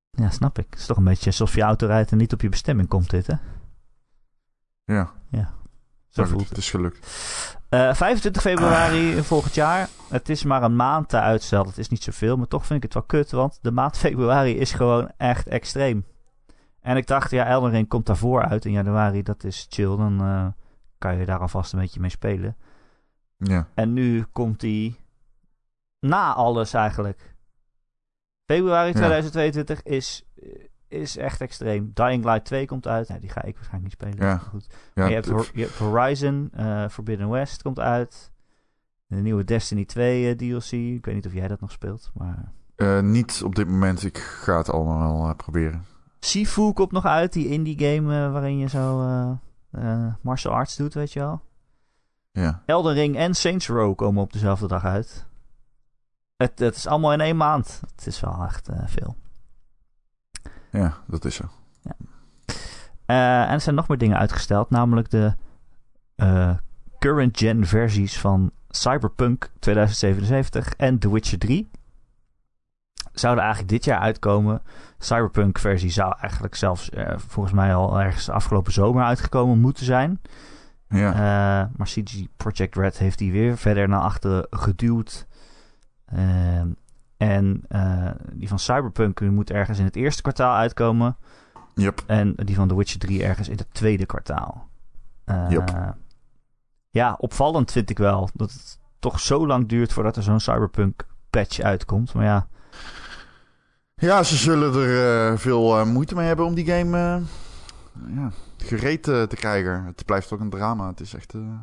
Speaker 1: Ja, snap ik. Het is toch een beetje alsof je auto rijdt en niet op je bestemming komt dit, hè?
Speaker 2: Ja,
Speaker 1: Zo
Speaker 2: maar goed,
Speaker 1: voelt
Speaker 2: het
Speaker 1: het.
Speaker 2: is gelukt.
Speaker 1: Eh, 25 februari volgend jaar. Het is maar een maand te uitstel. Het is niet zoveel, maar toch vind ik het wel kut. Want de maand (laughs) februari is gewoon echt extreem. En ik dacht, ja, Elden Ring komt daarvoor uit in januari. Dat is chill. Dan eh, kan je daar alvast een beetje mee spelen.
Speaker 2: Ja.
Speaker 1: En nu komt die na alles eigenlijk. Februari
Speaker 2: Ja.
Speaker 1: 2022 is, is echt extreem. Dying Light 2 komt uit. Nou, die ga ik waarschijnlijk niet spelen.
Speaker 2: Ja.
Speaker 1: maar Goed.
Speaker 2: ja
Speaker 1: Maar je, hebt,
Speaker 2: het-
Speaker 1: Hor- je hebt Horizon, eh, Forbidden West komt uit. De nieuwe Destiny 2 eh, DLC. Ik weet niet of jij dat nog speelt, maar...
Speaker 2: eh, niet op dit moment. Ik ga het allemaal wel eh, proberen.
Speaker 1: Sifu komt nog uit, die indie game eh, waarin je zo eh, eh, martial arts doet, weet je wel.
Speaker 2: Ja.
Speaker 1: Elden Ring en Saints Row komen op dezelfde dag uit. Het, het is allemaal in één maand. Het is wel echt eh, veel.
Speaker 2: ja, dat is zo.
Speaker 1: Eh, en er zijn nog meer dingen uitgesteld, namelijk de eh, current gen versies van Cyberpunk 2077 en The Witcher 3. Zouden eigenlijk dit jaar uitkomen. Cyberpunk versie zou eigenlijk zelfs eh, volgens mij al ergens afgelopen zomer uitgekomen moeten zijn.
Speaker 2: Ja.
Speaker 1: Eh, maar CG Project Red heeft die weer verder naar achteren geduwd. Ehm, en eh, die van Cyberpunk moet ergens in het eerste kwartaal uitkomen.
Speaker 2: Yep.
Speaker 1: En die van The Witcher 3 ergens in het tweede kwartaal. Eh,
Speaker 2: Yep.
Speaker 1: Ja, opvallend vind ik wel dat het toch zo lang duurt voordat er zo'n Cyberpunk patch uitkomt. Maar ja,
Speaker 2: Ja, ze zullen er eh, veel eh, moeite mee hebben om die game eh, ja, gereed eh, te krijgen. Het blijft ook een drama. Het is echt... eh,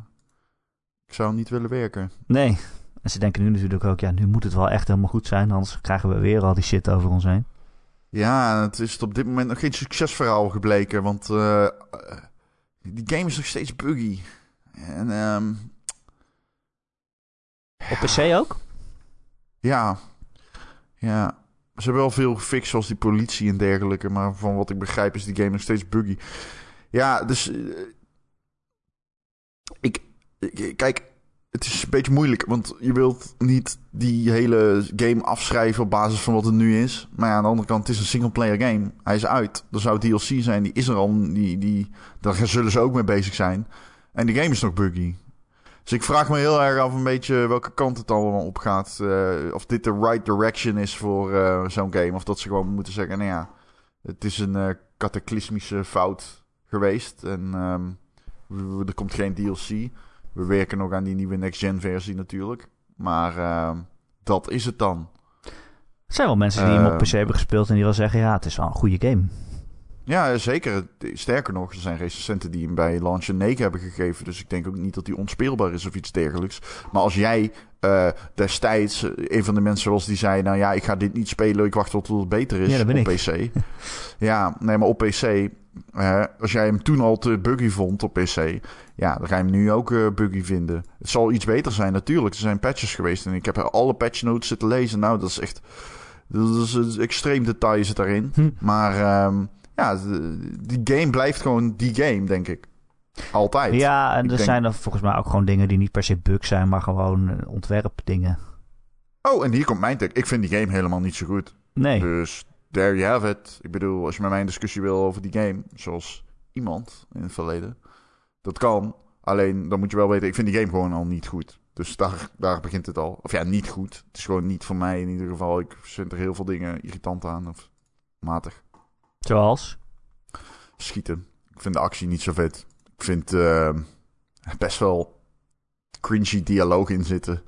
Speaker 2: ik zou niet willen werken.
Speaker 1: nee. En ze denken nu natuurlijk ook, ja, nu moet het wel echt helemaal goed zijn. Anders krijgen we weer al die shit over ons heen.
Speaker 2: Ja, en het is op dit moment nog geen succesverhaal gebleken. Want eh, eh, die game is nog steeds buggy. En ehm,
Speaker 1: Op PC ook?
Speaker 2: Ja. Ja. Ze hebben wel veel gefixt, zoals die politie en dergelijke. Maar van wat ik begrijp is die game nog steeds buggy. Ja, dus... eh, ik, ik- eh, Kijk, het is een beetje moeilijk. Want je wilt niet die hele game afschrijven op basis van wat het nu is. Maar ja, aan de andere kant, het is een singleplayer game. Hij is uit. Er zou DLC zijn, die is er al. Die, die, daar zullen ze ook mee bezig zijn. En die game is nog buggy. Dus ik vraag me heel erg af een beetje welke kant het allemaal op gaat. Eh, of dit de right direction is voor eh, zo'n game. Of dat ze gewoon moeten zeggen, nou ja, het is een eh cataclysmische fout geweest. En ehm, we- we- er komt geen DLC. We werken nog aan die nieuwe next-gen versie natuurlijk. Maar ehm, dat is het dan.
Speaker 1: Er zijn wel mensen die hem
Speaker 2: Eh,
Speaker 1: op PC hebben gespeeld en die wel zeggen, ja, het is wel een goede game.
Speaker 2: Ja, zeker. Sterker nog, er zijn recensenten die hem bij launch een 9 hebben gegeven. Dus ik denk ook niet dat hij onspeelbaar is of iets dergelijks. Maar als jij eh, destijds, eh, een van de mensen zoals die zei... nou ja, ik ga dit niet spelen, ik wacht tot het beter is
Speaker 1: Ja, dat ben
Speaker 2: op
Speaker 1: ik. (laughs)
Speaker 2: PC. ja, nee, maar op PC... eh, als jij hem toen al te buggy vond op PC... ja, dan ga je hem nu ook eh, buggy vinden. Het zal iets beter zijn natuurlijk. Er zijn patches geweest en ik heb alle patch notes zitten lezen. Nou, dat is echt... Dat is een extreem detail zit daarin.
Speaker 1: Hm.
Speaker 2: Maar ehm, ja, de- die game blijft gewoon die game, denk ik. Altijd.
Speaker 1: Ja, en
Speaker 2: Ik
Speaker 1: er
Speaker 2: denk-
Speaker 1: zijn er volgens mij ook gewoon dingen die niet per se bugs zijn, maar gewoon eh, ontwerpdingen.
Speaker 2: Oh, en hier komt mijn tech. Ik vind die game helemaal niet zo goed.
Speaker 1: Nee,
Speaker 2: Dus there you have it. Ik bedoel, als je met mij een discussie wil over die game, zoals iemand in het verleden, dat kan. Alleen dan moet je wel weten, ik vind die game gewoon al niet goed. Dus daar, daar begint het al. Of ja, niet goed. Het is gewoon niet voor mij in ieder geval. Ik vind er heel veel dingen irritant aan. Of matig.
Speaker 1: zoals.
Speaker 2: schieten. Ik vind de actie niet zo vet. Ik vind eh, best wel cringy dialoog in zitten.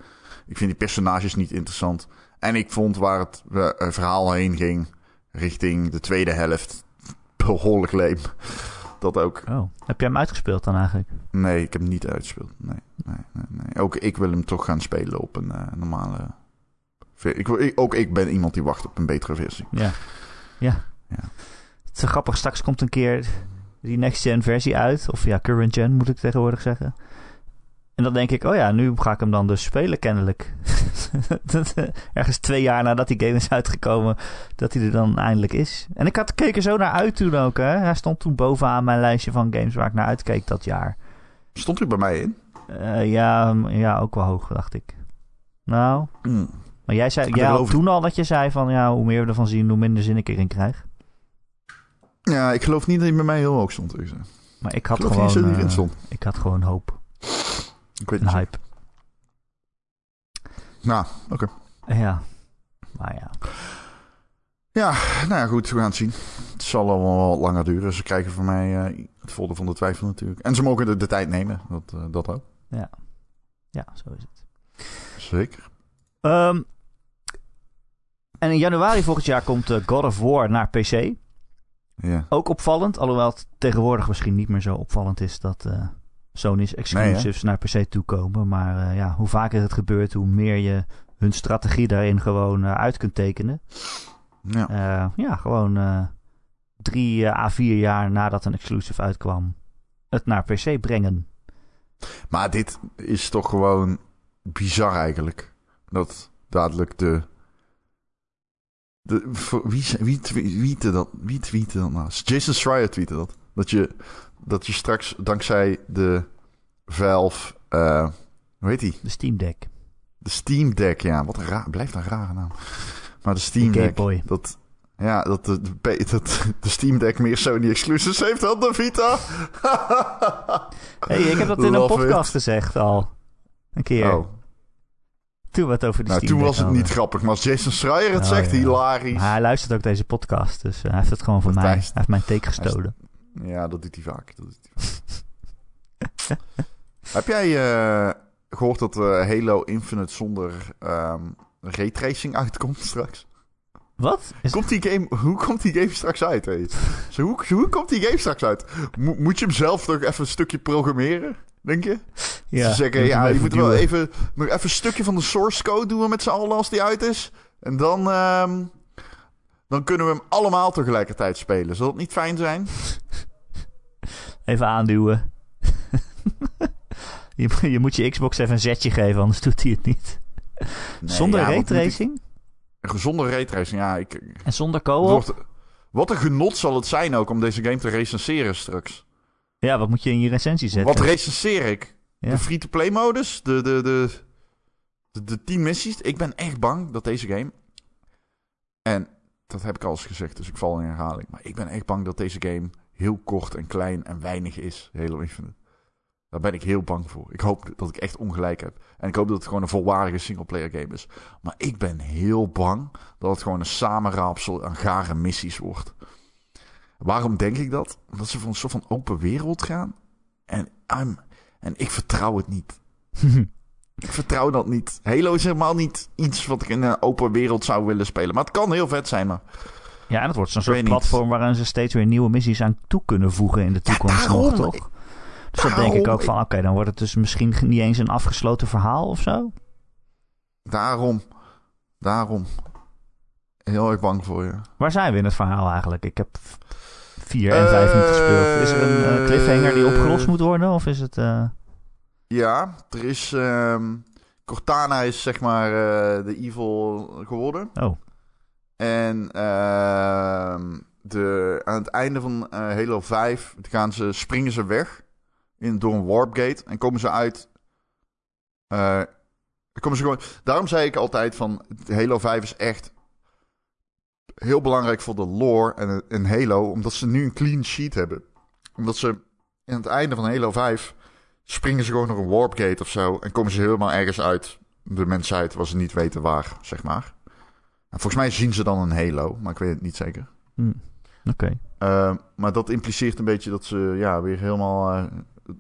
Speaker 2: Ik vind die personages niet interessant. En ik vond waar het eh, eh, (laughs) verhaal heen ging, richting de tweede helft, behoorlijk leem. Dat ook.
Speaker 1: Oh, heb jij hem uitgespeeld dan eigenlijk?
Speaker 2: Nee, ik heb hem niet uitgespeeld. Nee, nee, nee, nee. Ook ik wil hem toch gaan spelen op een eh, normale... ver- Ik, wil- ik- ook ik ben iemand die wacht op een betere versie.
Speaker 1: Ja. Ja.
Speaker 2: Ja.
Speaker 1: Het is zo grappig, straks komt een keer die next-gen versie uit. Of ja, current-gen moet ik tegenwoordig zeggen. En dan denk ik, oh ja, nu ga ik hem dan dus spelen kennelijk. (laughs) Dat, eh, Ergens twee jaar nadat die game is uitgekomen, dat hij er dan eindelijk is. En ik had keek er zo naar uit toen ook, hè. Hij stond toen bovenaan mijn lijstje van games waar ik naar uitkeek dat jaar.
Speaker 2: Stond hij bij mij in?
Speaker 1: Eh, ja, m- ja, ook wel hoog, dacht ik. Nou,
Speaker 2: Hm.
Speaker 1: maar jij zei
Speaker 2: Ik
Speaker 1: jij had
Speaker 2: geloof het.
Speaker 1: toen al dat je zei van, ja, hoe meer we ervan zien, hoe minder zin ik erin krijg.
Speaker 2: Ja, ik geloof niet dat hij bij mij heel hoog stond. Ik geloof
Speaker 1: Maar ik had
Speaker 2: niet
Speaker 1: gewoon...
Speaker 2: eens dat hij erin
Speaker 1: eh,
Speaker 2: stond.
Speaker 1: Ik had gewoon hoop
Speaker 2: Ik weet
Speaker 1: en
Speaker 2: niet.
Speaker 1: hype.
Speaker 2: Nou, oké.
Speaker 1: Ja. Maar ja.
Speaker 2: Nou ja, goed, we gaan het zien. Het zal allemaal wel wat langer duren. Ze krijgen van mij eh, het voordeel van de twijfel natuurlijk. En ze mogen de, de tijd nemen. Dat, eh, dat ook.
Speaker 1: Ja, zo is het.
Speaker 2: Zeker.
Speaker 1: Ehm, en in januari volgend jaar komt eh, God of War naar PC.
Speaker 2: Ja.
Speaker 1: Ook opvallend. Alhoewel het tegenwoordig misschien niet meer zo opvallend is dat eh, Sony's exclusives naar PC toe komen. Maar eh, ja, hoe vaker het gebeurt, hoe meer je hun strategie daarin gewoon eh, uit kunt tekenen.
Speaker 2: ja.
Speaker 1: Eh, ja, gewoon eh, drie eh, à vier jaar nadat een exclusive uitkwam, het naar PC brengen.
Speaker 2: Maar dit is toch gewoon bizar eigenlijk. Dat dadelijk de... de voor- wie, ze- wie, twe- tweette dat? Wie tweette dat nou? Jason Schreier tweette dat. Dat je, dat je straks dankzij de Valve... eh, hoe heet die?
Speaker 1: De Steam Deck.
Speaker 2: De Steam Deck, ja. Wat een raar, blijft een rare naam. Maar
Speaker 1: De
Speaker 2: de Steam
Speaker 1: Game
Speaker 2: Deck.
Speaker 1: Boy.
Speaker 2: Dat, ja, dat eh, de, de, P- (laughs) dat de Steam Deck meer Sony exclusives heeft dan de Vita.
Speaker 1: Hey, ik
Speaker 2: (laughs)
Speaker 1: heb dat in een
Speaker 2: Love Oh,
Speaker 1: podcast gezegd al. Een
Speaker 2: it.
Speaker 1: keer.
Speaker 2: Oh,
Speaker 1: Toen we het over die
Speaker 2: nou,
Speaker 1: Steam
Speaker 2: toen
Speaker 1: Deck
Speaker 2: was het
Speaker 1: hadden.
Speaker 2: niet grappig. Maar als Jason Schreier het
Speaker 1: Oh,
Speaker 2: zegt,
Speaker 1: ja.
Speaker 2: hilarisch.
Speaker 1: Maar hij luistert ook deze podcast, dus eh, hij heeft het gewoon van mij. Hij
Speaker 2: Fantastisch.
Speaker 1: heeft mijn take gestolen. (laughs)
Speaker 2: Ja, dat doet hij vaak. Dat doet hij vaak. Heb jij eh, gehoord dat eh, Halo Infinite zonder ehm raytracing uitkomt straks?
Speaker 1: Wat? (laughs) Is-
Speaker 2: Komt die game, hoe komt die game straks uit? Hé? Zo, hoe, hoe komt die game straks uit? Mo- moet je hem zelf nog even een stukje programmeren, denk je? Ze zeggen,
Speaker 1: moet
Speaker 2: ja,
Speaker 1: hem
Speaker 2: je moet wel (laughs)
Speaker 1: duwen.
Speaker 2: even, nog even een stukje van de source code doen we met z'n allen als die uit is. En dan, ehm, dan kunnen we hem allemaal tegelijkertijd spelen. Zal dat niet fijn zijn?
Speaker 1: Even aanduwen. (laughs) je, je moet je Xbox even een zetje geven, anders doet hij het niet. zonder
Speaker 2: ja, wat moet
Speaker 1: raytracing
Speaker 2: ik- zonder raytracing, ja. Ik, het
Speaker 1: en zonder co-op.
Speaker 2: wordt, wat een genot zal het zijn ook om deze game te recenseren straks.
Speaker 1: Ja, wat moet je in je recensie zetten?
Speaker 2: Wat
Speaker 1: (laughs)
Speaker 2: recenseer ik?
Speaker 1: Ja.
Speaker 2: De free-to-play modus? De, de, de, de, de tien missies? Ik ben echt bang dat deze game... En dat heb ik al eens gezegd, dus ik val in herhaling. Maar ik ben echt bang dat deze game heel kort en klein en weinig is. Halo Infinite. Daar ben ik heel bang voor. Ik hoop dat ik echt ongelijk heb. En ik hoop dat het gewoon een volwaardige singleplayer game is. Maar ik ben heel bang dat het gewoon een samenraapsel aan gare missies wordt. Waarom denk ik dat? Omdat ze voor een soort van open wereld gaan. En, I'm, en ik vertrouw het niet. Ik vertrouw dat niet. Halo is helemaal niet iets wat ik in een open wereld zou willen spelen. Maar het kan heel vet zijn, maar...
Speaker 1: ja, en dat wordt zo'n
Speaker 2: Ik
Speaker 1: soort
Speaker 2: weet niet.
Speaker 1: platform waarin ze steeds weer nieuwe missies aan toe kunnen voegen in de toekomst nog,
Speaker 2: daarom.
Speaker 1: toch? Dus dat denk ik
Speaker 2: Daarom.
Speaker 1: ook van, oké, dan wordt het dus misschien niet eens een afgesloten verhaal of zo.
Speaker 2: Daarom. Daarom. Heel erg bang voor je.
Speaker 1: Waar zijn we in het verhaal eigenlijk? Ik heb 4 en 5
Speaker 2: Eh,
Speaker 1: niet gespeeld. Is er een eh, cliffhanger die opgelost moet worden? Of is het... eh,
Speaker 2: Ja, er is... ehm, Cortana is zeg maar eh, de evil geworden.
Speaker 1: Oh.
Speaker 2: En ehm, de, aan het einde van eh, Halo 5 gaan ze, springen ze weg in, door een warpgate. En komen ze uit... eh, komen ze gewoon, daarom zei ik altijd van Halo 5 is echt heel belangrijk voor de lore en, en Halo. Omdat ze nu een clean sheet hebben. Omdat ze aan het einde van Halo 5 springen ze gewoon door een warpgate of zo. En komen ze helemaal ergens uit de mensheid waar ze niet weten waar, zeg maar. En Nou, volgens mij zien ze dan een Halo, maar ik weet het niet zeker.
Speaker 1: hm, Oké.
Speaker 2: Eh, maar dat impliceert een beetje dat ze ja, weer helemaal eh,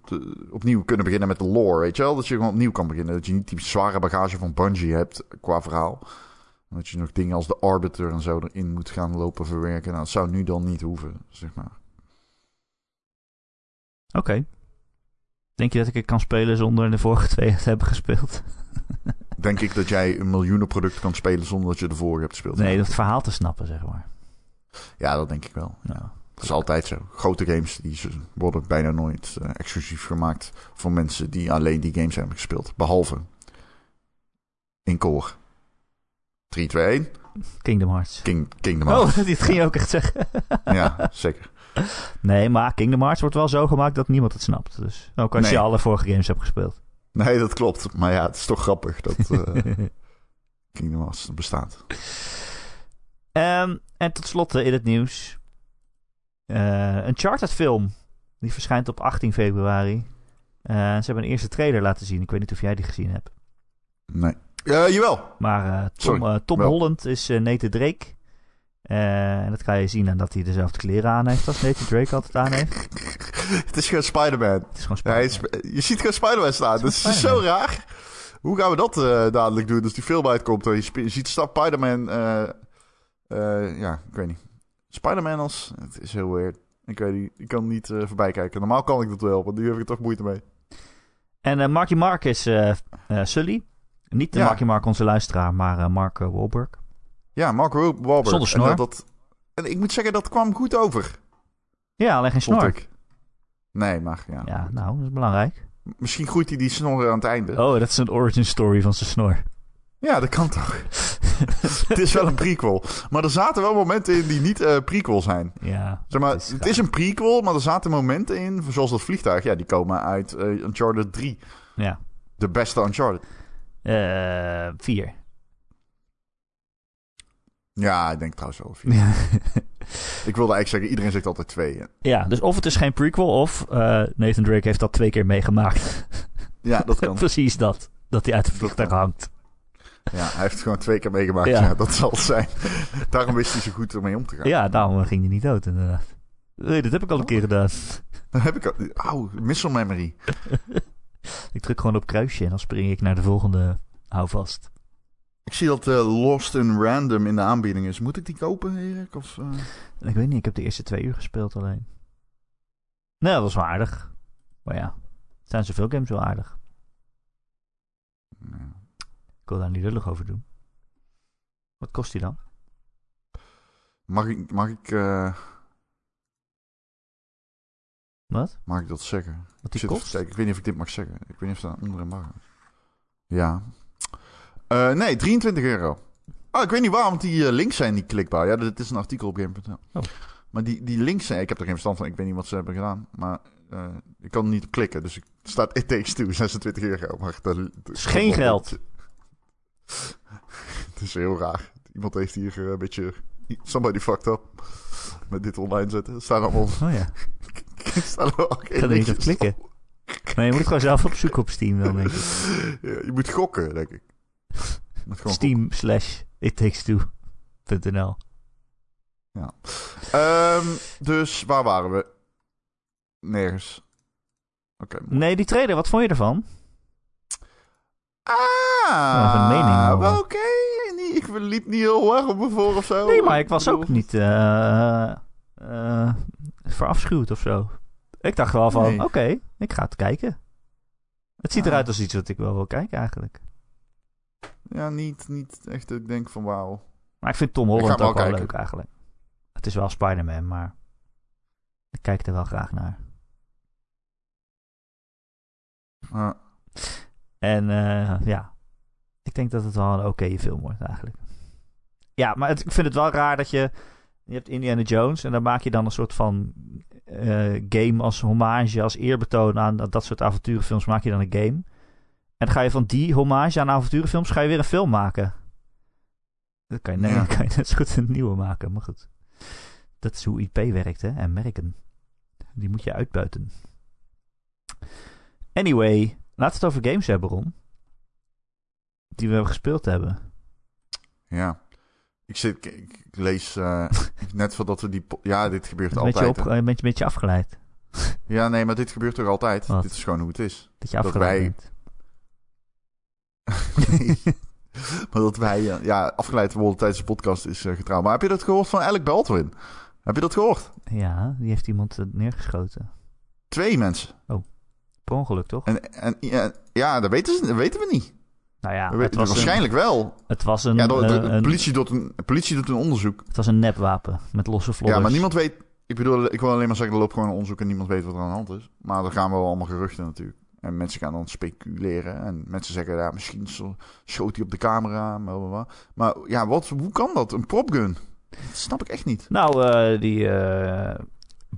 Speaker 2: te- opnieuw kunnen beginnen met de lore, weet je wel? Dat je gewoon opnieuw kan beginnen. Dat je niet die zware bagage van Bungie hebt qua verhaal. En Dat je nog dingen als de Arbiter en zo erin moet gaan lopen verwerken. Nou, dat zou nu dan niet hoeven, zeg maar.
Speaker 1: Oké. Denk je dat ik het kan spelen zonder de vorige (laughs) twee te hebben gespeeld?
Speaker 2: Denk ik dat jij een miljoenenproduct kan spelen zonder dat je de vorige hebt gespeeld.
Speaker 1: Nee, het verhaal te snappen, zeg maar. Nou,
Speaker 2: Ja, dat denk ik wel.
Speaker 1: Ja.
Speaker 2: Dat is altijd zo. Grote games die z- worden bijna nooit eh, exclusief gemaakt voor mensen die alleen die games hebben gespeeld. Behalve in koor. 3, 2, 1.
Speaker 1: Kingdom Hearts.
Speaker 2: King, Kingdom Hearts.
Speaker 1: Oh, (laughs) dit ging je ook echt zeggen.
Speaker 2: Ja, (laughs) zeker.
Speaker 1: Nee, maar Kingdom Hearts wordt wel zo gemaakt dat niemand het snapt. Dus ook als
Speaker 2: Nee.
Speaker 1: je alle vorige games hebt gespeeld.
Speaker 2: Nee, dat klopt. Maar ja, het is toch grappig dat
Speaker 1: (laughs)
Speaker 2: eh, Kingdom Hearts bestaat.
Speaker 1: Ehm, en tot slot eh, in het nieuws. eh, een Chartered-film. Die verschijnt op 18 februari. Eh, ze hebben een eerste trailer laten zien. Ik weet niet of jij die gezien hebt.
Speaker 2: Nee. Eh, jawel.
Speaker 1: Maar eh, Tom,
Speaker 2: Sorry,
Speaker 1: eh, Tom
Speaker 2: wel.
Speaker 1: Holland is eh Nathan Drake. Eh, en dat kan je zien aan dat hij dezelfde kleren aan heeft als Nathan Drake altijd aan heeft.
Speaker 2: (laughs) Het is gewoon Spider-Man.
Speaker 1: Het is gewoon
Speaker 2: Ja, hij is-
Speaker 1: Spider-Man.
Speaker 2: je ziet gewoon Spider-Man staan. Dat is zo
Speaker 1: Spider-Man.
Speaker 2: raar. Hoe gaan we dat eh, dadelijk doen als die film uitkomt? en Je, spe- je ziet sta- Spider-Man... eh, eh, ja, ik weet niet. Spider-Man als... Het is heel weird. Ik weet niet. Ik kan niet eh, voorbij kijken. Normaal kan ik dat wel, want nu heb ik er toch moeite mee.
Speaker 1: En eh, Marky Mark is eh, eh, Sully. Niet de
Speaker 2: Ja.
Speaker 1: Marky Mark, onze luisteraar, maar eh, Mark eh, Wahlberg.
Speaker 2: Ja, Mark Wa- Wahlberg.
Speaker 1: Zonder snor.
Speaker 2: En, dat, dat- en ik moet zeggen, dat kwam goed over,
Speaker 1: Ja, alleen geen
Speaker 2: vond
Speaker 1: snor.
Speaker 2: ik. Nee, maar ja.
Speaker 1: Ja, nou, dat is belangrijk.
Speaker 2: Misschien groeit hij die snor aan het einde.
Speaker 1: Oh, dat is een origin story van zijn snor.
Speaker 2: Ja, dat kan toch. (laughs) het is wel een prequel. Maar er zaten wel momenten in die niet eh, prequel zijn.
Speaker 1: ja.
Speaker 2: Zeg maar,
Speaker 1: dat
Speaker 2: het is een prequel, maar er zaten momenten in, zoals dat vliegtuig. Ja, die komen uit eh, Uncharted 3.
Speaker 1: Ja.
Speaker 2: De beste Uncharted.
Speaker 1: Eh, vier. (laughs)
Speaker 2: Ja, ik denk trouwens wel. vier. ik wilde eigenlijk zeggen, iedereen zegt altijd twee. hè.
Speaker 1: ja, dus of het is geen prequel, of eh, Nathan Drake heeft dat twee keer meegemaakt.
Speaker 2: Ja, dat (laughs) kan.
Speaker 1: (laughs) Precies dat. Dat hij uit de
Speaker 2: Dat
Speaker 1: vliegtuig
Speaker 2: kan.
Speaker 1: hangt.
Speaker 2: Ja, hij heeft het gewoon twee keer meegemaakt. Ja.
Speaker 1: Ja.
Speaker 2: dat zal het zijn. (laughs) Daarom wist hij zo goed ermee om te gaan.
Speaker 1: Ja, daarom eh, ging hij niet dood, inderdaad. Nee, dat heb
Speaker 2: Oh.
Speaker 1: ik al een keer gedaan.
Speaker 2: Dan heb ik al... Au, missile memory.
Speaker 1: (laughs) Ik druk gewoon op kruisje en dan spring ik naar de volgende houvast.
Speaker 2: Ik zie dat eh, Lost in Random in de aanbieding is. Moet ik die kopen, Erik? Of, eh?
Speaker 1: En Ik weet niet, ik heb de eerste twee uur gespeeld alleen. Nou, dat was wel aardig. Maar ja, het zijn zoveel games wel aardig.
Speaker 2: Nee.
Speaker 1: Ik wil daar niet lullig over doen. Wat kost die dan?
Speaker 2: Mag ik... Mag ik eh,
Speaker 1: Wat?
Speaker 2: Mag ik dat zeggen?
Speaker 1: Wat die
Speaker 2: Ik zit even
Speaker 1: kost?
Speaker 2: te kijken. Ik weet niet of ik dit mag zeggen. Ik weet niet of dat onder en mag. Ja. Eh, nee, 23 euro. Oh, ik weet niet waarom, want die eh, links zijn niet klikbaar. Ja, dit is een artikel op game.nl.
Speaker 1: Oh.
Speaker 2: Maar die, die links zijn... Ik heb er geen verstand van. Ik weet niet wat ze hebben gedaan. Maar eh, ik kan er niet op klikken. Dus ik het (laughs) staat it takes two, 26 euro. Maar dat, dat
Speaker 1: is geen geld.
Speaker 2: (laughs) Het is heel raar. Iemand heeft hier eh, een beetje... Somebody fucked up. Met dit online zetten. Er staan allemaal... (laughs)
Speaker 1: Oh ja,
Speaker 2: er staan allemaal
Speaker 1: ik ga er niet op klikken. Nee, je moet gewoon zelf op zoek op Steam dan, denk
Speaker 2: (laughs)
Speaker 1: ik.
Speaker 2: Ja, je moet gokken, denk ik. Je moet gewoon
Speaker 1: Steam slash it takes two.nl.
Speaker 2: gokken. Ehm, dus waar waren we? Nergens. Oké.
Speaker 1: Nee, die trailer, wat vond je ervan?
Speaker 2: Ah,
Speaker 1: Even een mening horen.
Speaker 2: wel, Oké, niet- ik liep niet heel erg op me voor of zo.
Speaker 1: Nee, maar ik was ook
Speaker 2: bedoel-
Speaker 1: niet eh, eh, verafschuwd of zo. Ik dacht wel van,
Speaker 2: Nee.
Speaker 1: oké, ik ga het kijken. Het ziet
Speaker 2: Ah.
Speaker 1: eruit als iets wat ik wel wil kijken eigenlijk.
Speaker 2: Ja, niet, niet echt dat ik denk van wauw.
Speaker 1: Maar ik vind Tom
Speaker 2: Ik ga
Speaker 1: Holland
Speaker 2: hem
Speaker 1: ook
Speaker 2: wel
Speaker 1: wel
Speaker 2: kijken.
Speaker 1: leuk eigenlijk. Het is wel Spider-Man, maar ik kijk er wel graag naar.
Speaker 2: Ah,
Speaker 1: En eh, ja, ik denk dat het wel een oké film wordt eigenlijk. Ja, maar het- ik vind het wel raar dat je... Je hebt Indiana Jones en daar maak je dan een soort van eh, game als hommage, als eerbetoon aan dat, dat soort avonturenfilms. Maak je dan een game. En dan ga je van die hommage aan avonturenfilms, ga je weer een film maken. Dat kan je, nee,
Speaker 2: Ja.
Speaker 1: dan (laughs) kan je net zo goed een nieuwe maken, maar goed. Dat is hoe IP werkt, hè. En merken. Die moet je uitbuiten. Anyway, laten we het over games hebben, Ron. Die we gespeeld hebben.
Speaker 2: ja. Ik, zit, ik, ik lees eh, (laughs) net voordat we die... po- Ja, dit gebeurt
Speaker 1: Een beetje,
Speaker 2: altijd.
Speaker 1: op,
Speaker 2: hè.
Speaker 1: een beetje, een beetje afgeleid.
Speaker 2: Ja, nee, maar dit gebeurt toch altijd?
Speaker 1: Wat?
Speaker 2: Dit is gewoon hoe het is.
Speaker 1: Dat je
Speaker 2: Dat
Speaker 1: afgeleid
Speaker 2: wij-
Speaker 1: bent.
Speaker 2: Nee. (laughs) maar dat wij eh, ja, afgeleid worden tijdens de podcast is eh, getrouw. Maar heb je dat gehoord van Alec Baldwin? Heb je dat gehoord?
Speaker 1: Ja, die heeft iemand eh, neergeschoten.
Speaker 2: Twee mensen.
Speaker 1: Per ongeluk, toch?
Speaker 2: En, en, ja, ja, dat weten, ze, dat weten we niet.
Speaker 1: Nou ja,
Speaker 2: we weten,
Speaker 1: het was, een,
Speaker 2: waarschijnlijk wel.
Speaker 1: het was een,
Speaker 2: Ja, de, de- de
Speaker 1: eh, een-
Speaker 2: politie, doet een, de politie doet een onderzoek.
Speaker 1: het was een nepwapen met losse vlodders.
Speaker 2: Ja, maar niemand weet... Ik bedoel, ik wil alleen maar zeggen, er loopt gewoon een onderzoek en niemand weet wat er aan de hand is. Maar dan gaan we wel allemaal geruchten natuurlijk. En mensen gaan dan speculeren. En mensen zeggen, ja, misschien zo- schoot hij op de camera. Maar, maar ja, wat, hoe kan dat? Een propgun? Dat snap ik echt niet.
Speaker 1: Nou, eh, die eh,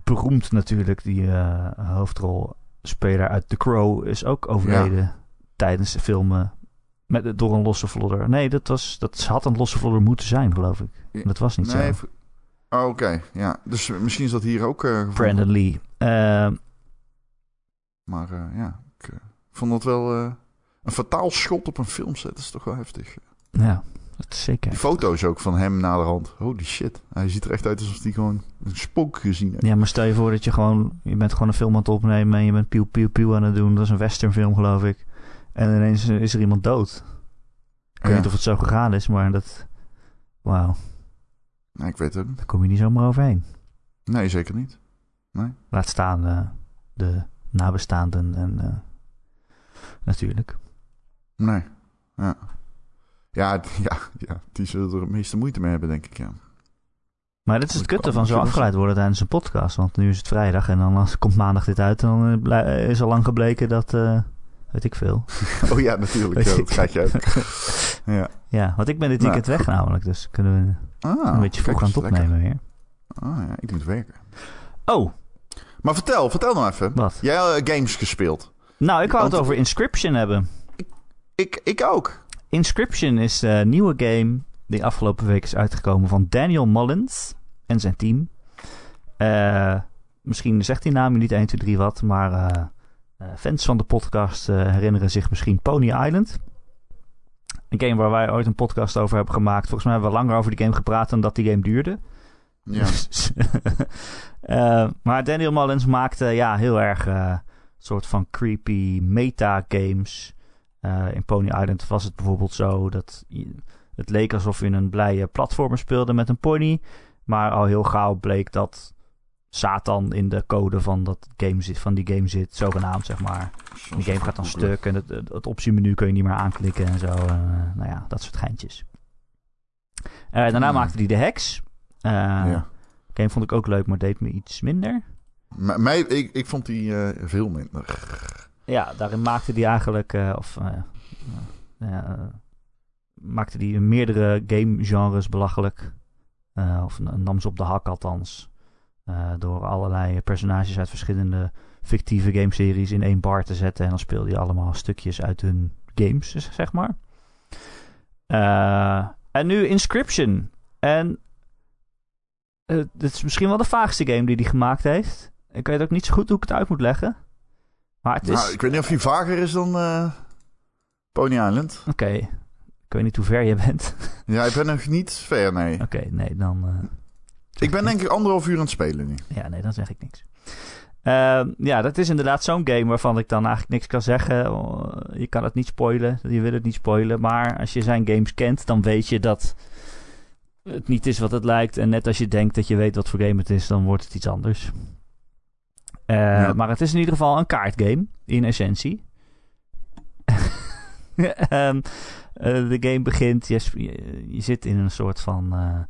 Speaker 1: beroemd natuurlijk, die eh, hoofdrolspeler uit The Crow is ook overleden tijdens filmen met, door een losse vlodder. Nee, dat, was, dat had een losse vlodder moeten zijn, geloof ik.
Speaker 2: Ja,
Speaker 1: Dat was niet zo.
Speaker 2: Nee, v- oh, oké. Ja, dus misschien is dat hier ook... eh, gevonden.
Speaker 1: Brandon Lee. Eh,
Speaker 2: Maar eh, ja, ik eh, vond dat wel... eh, een fataal schot op een filmset, dat is toch wel heftig.
Speaker 1: ja, dat is
Speaker 2: Die
Speaker 1: zeker.
Speaker 2: foto's ook van hem naderhand. Holy shit. Hij ziet er echt uit alsof hij gewoon een spook gezien heeft.
Speaker 1: Ja, maar stel je voor dat je gewoon... Je bent gewoon een film aan het opnemen en je bent piu piu piu aan het doen. Dat is een westernfilm, geloof ik. En ineens eh, is er iemand dood. Ik weet
Speaker 2: Ja.
Speaker 1: niet of het zo gegaan is, maar dat... Wauw,
Speaker 2: Nee, ik weet het ook niet.
Speaker 1: daar kom je niet zomaar overheen.
Speaker 2: Nee, zeker niet.
Speaker 1: Laat staan eh, de nabestaanden en eh, natuurlijk.
Speaker 2: Nee. Ja. Ja, d- (laughs) ja, ja, die zullen er het meeste moeite mee hebben, denk ik. Ja.
Speaker 1: Maar dit is het
Speaker 2: Goed,
Speaker 1: kutte
Speaker 2: kan
Speaker 1: van zo
Speaker 2: natuurlijk
Speaker 1: afgeleid worden tijdens een podcast. Want nu is het vrijdag en dan als, komt maandag dit uit. En dan eh, blij- eh, is al lang gebleken dat, eh, weet ik veel.
Speaker 2: Oh ja,
Speaker 1: (laughs)
Speaker 2: natuurlijk. Ja, dat krijg je ook. Ja.
Speaker 1: Ja, want ik ben dit
Speaker 2: Nou,
Speaker 1: weekend weg namelijk. Dus kunnen we
Speaker 2: Ah,
Speaker 1: een beetje vroeg
Speaker 2: kijk
Speaker 1: aan het
Speaker 2: eens,
Speaker 1: opnemen weer.
Speaker 2: lekker. Ah ja, ik moet werken.
Speaker 1: Oh,
Speaker 2: Maar vertel, vertel nou even.
Speaker 1: wat?
Speaker 2: Jij hebt games gespeeld.
Speaker 1: Nou, ik wou het
Speaker 2: Want-
Speaker 1: over Inscription hebben.
Speaker 2: Ik, ik ook.
Speaker 1: Inscription is de nieuwe game die afgelopen week is uitgekomen van Daniel Mullins en zijn team. Eh, misschien zegt die naam je niet 1, 2, 3 wat, maar eh, eh, fans van de podcast eh, herinneren zich misschien Pony Island. Een game waar wij ooit een podcast over hebben gemaakt. Volgens mij hebben we langer over die game gepraat dan dat die game duurde. (laughs)
Speaker 2: Ja.
Speaker 1: Dus, Eh, maar Daniel Mullins maakte ja, heel erg eh soort van creepy meta-games. Eh, in Pony Island was het bijvoorbeeld zo dat je- het leek alsof je een blije platformer speelde met een pony. Maar al heel gauw bleek dat Satan in de code van, dat game zit, van die game zit, zogenaamd zeg maar. De game gaat dan stuk en het, het, het optiemenu kun je niet meer aanklikken en zo. En, eh, nou ja, dat soort geintjes. Eh, daarna
Speaker 2: Hmm.
Speaker 1: maakte hij de heks. Eh,
Speaker 2: Ja.
Speaker 1: Game vond ik ook leuk, maar deed me iets minder.
Speaker 2: M- Mij, ik, ik vond die eh, veel minder.
Speaker 1: Ja, daarin maakte die eigenlijk. eh, of, eh, eh, maakte die meerdere gamegenres belachelijk. Eh, of n- nam ze op de hak althans. Eh, door allerlei personages uit verschillende fictieve gameseries in één bar te zetten. En dan speelde je allemaal stukjes uit hun games, z- zeg maar. Eh, en nu Inscription. En eh, dit is misschien wel de vaagste game die hij gemaakt heeft. Ik weet ook niet zo goed hoe ik het uit moet leggen. Maar het is...
Speaker 2: Nou, ik weet niet of die vager is dan eh, Pony Island.
Speaker 1: Oké. Ik weet niet hoe ver je bent.
Speaker 2: Ja, ik ben nog niet ver, nee.
Speaker 1: Oké, nee, dan. eh,
Speaker 2: Ik ben denk ik anderhalf uur aan het spelen nu.
Speaker 1: Ja, nee, dan zeg ik niks. Ehm, ja, dat is inderdaad zo'n game waarvan ik dan eigenlijk niks kan zeggen. Oh, Je kan het niet spoilen, je wil het niet spoilen. Maar als je zijn games kent, dan weet je dat het niet is wat het lijkt. En net als je denkt dat je weet wat voor game het is, dan wordt het iets anders. Eh,
Speaker 2: Ja.
Speaker 1: Maar het is in ieder geval een kaartgame, in essentie. (laughs) Ehm, eh, de game begint, je, sp- je- je zit in een soort van eh,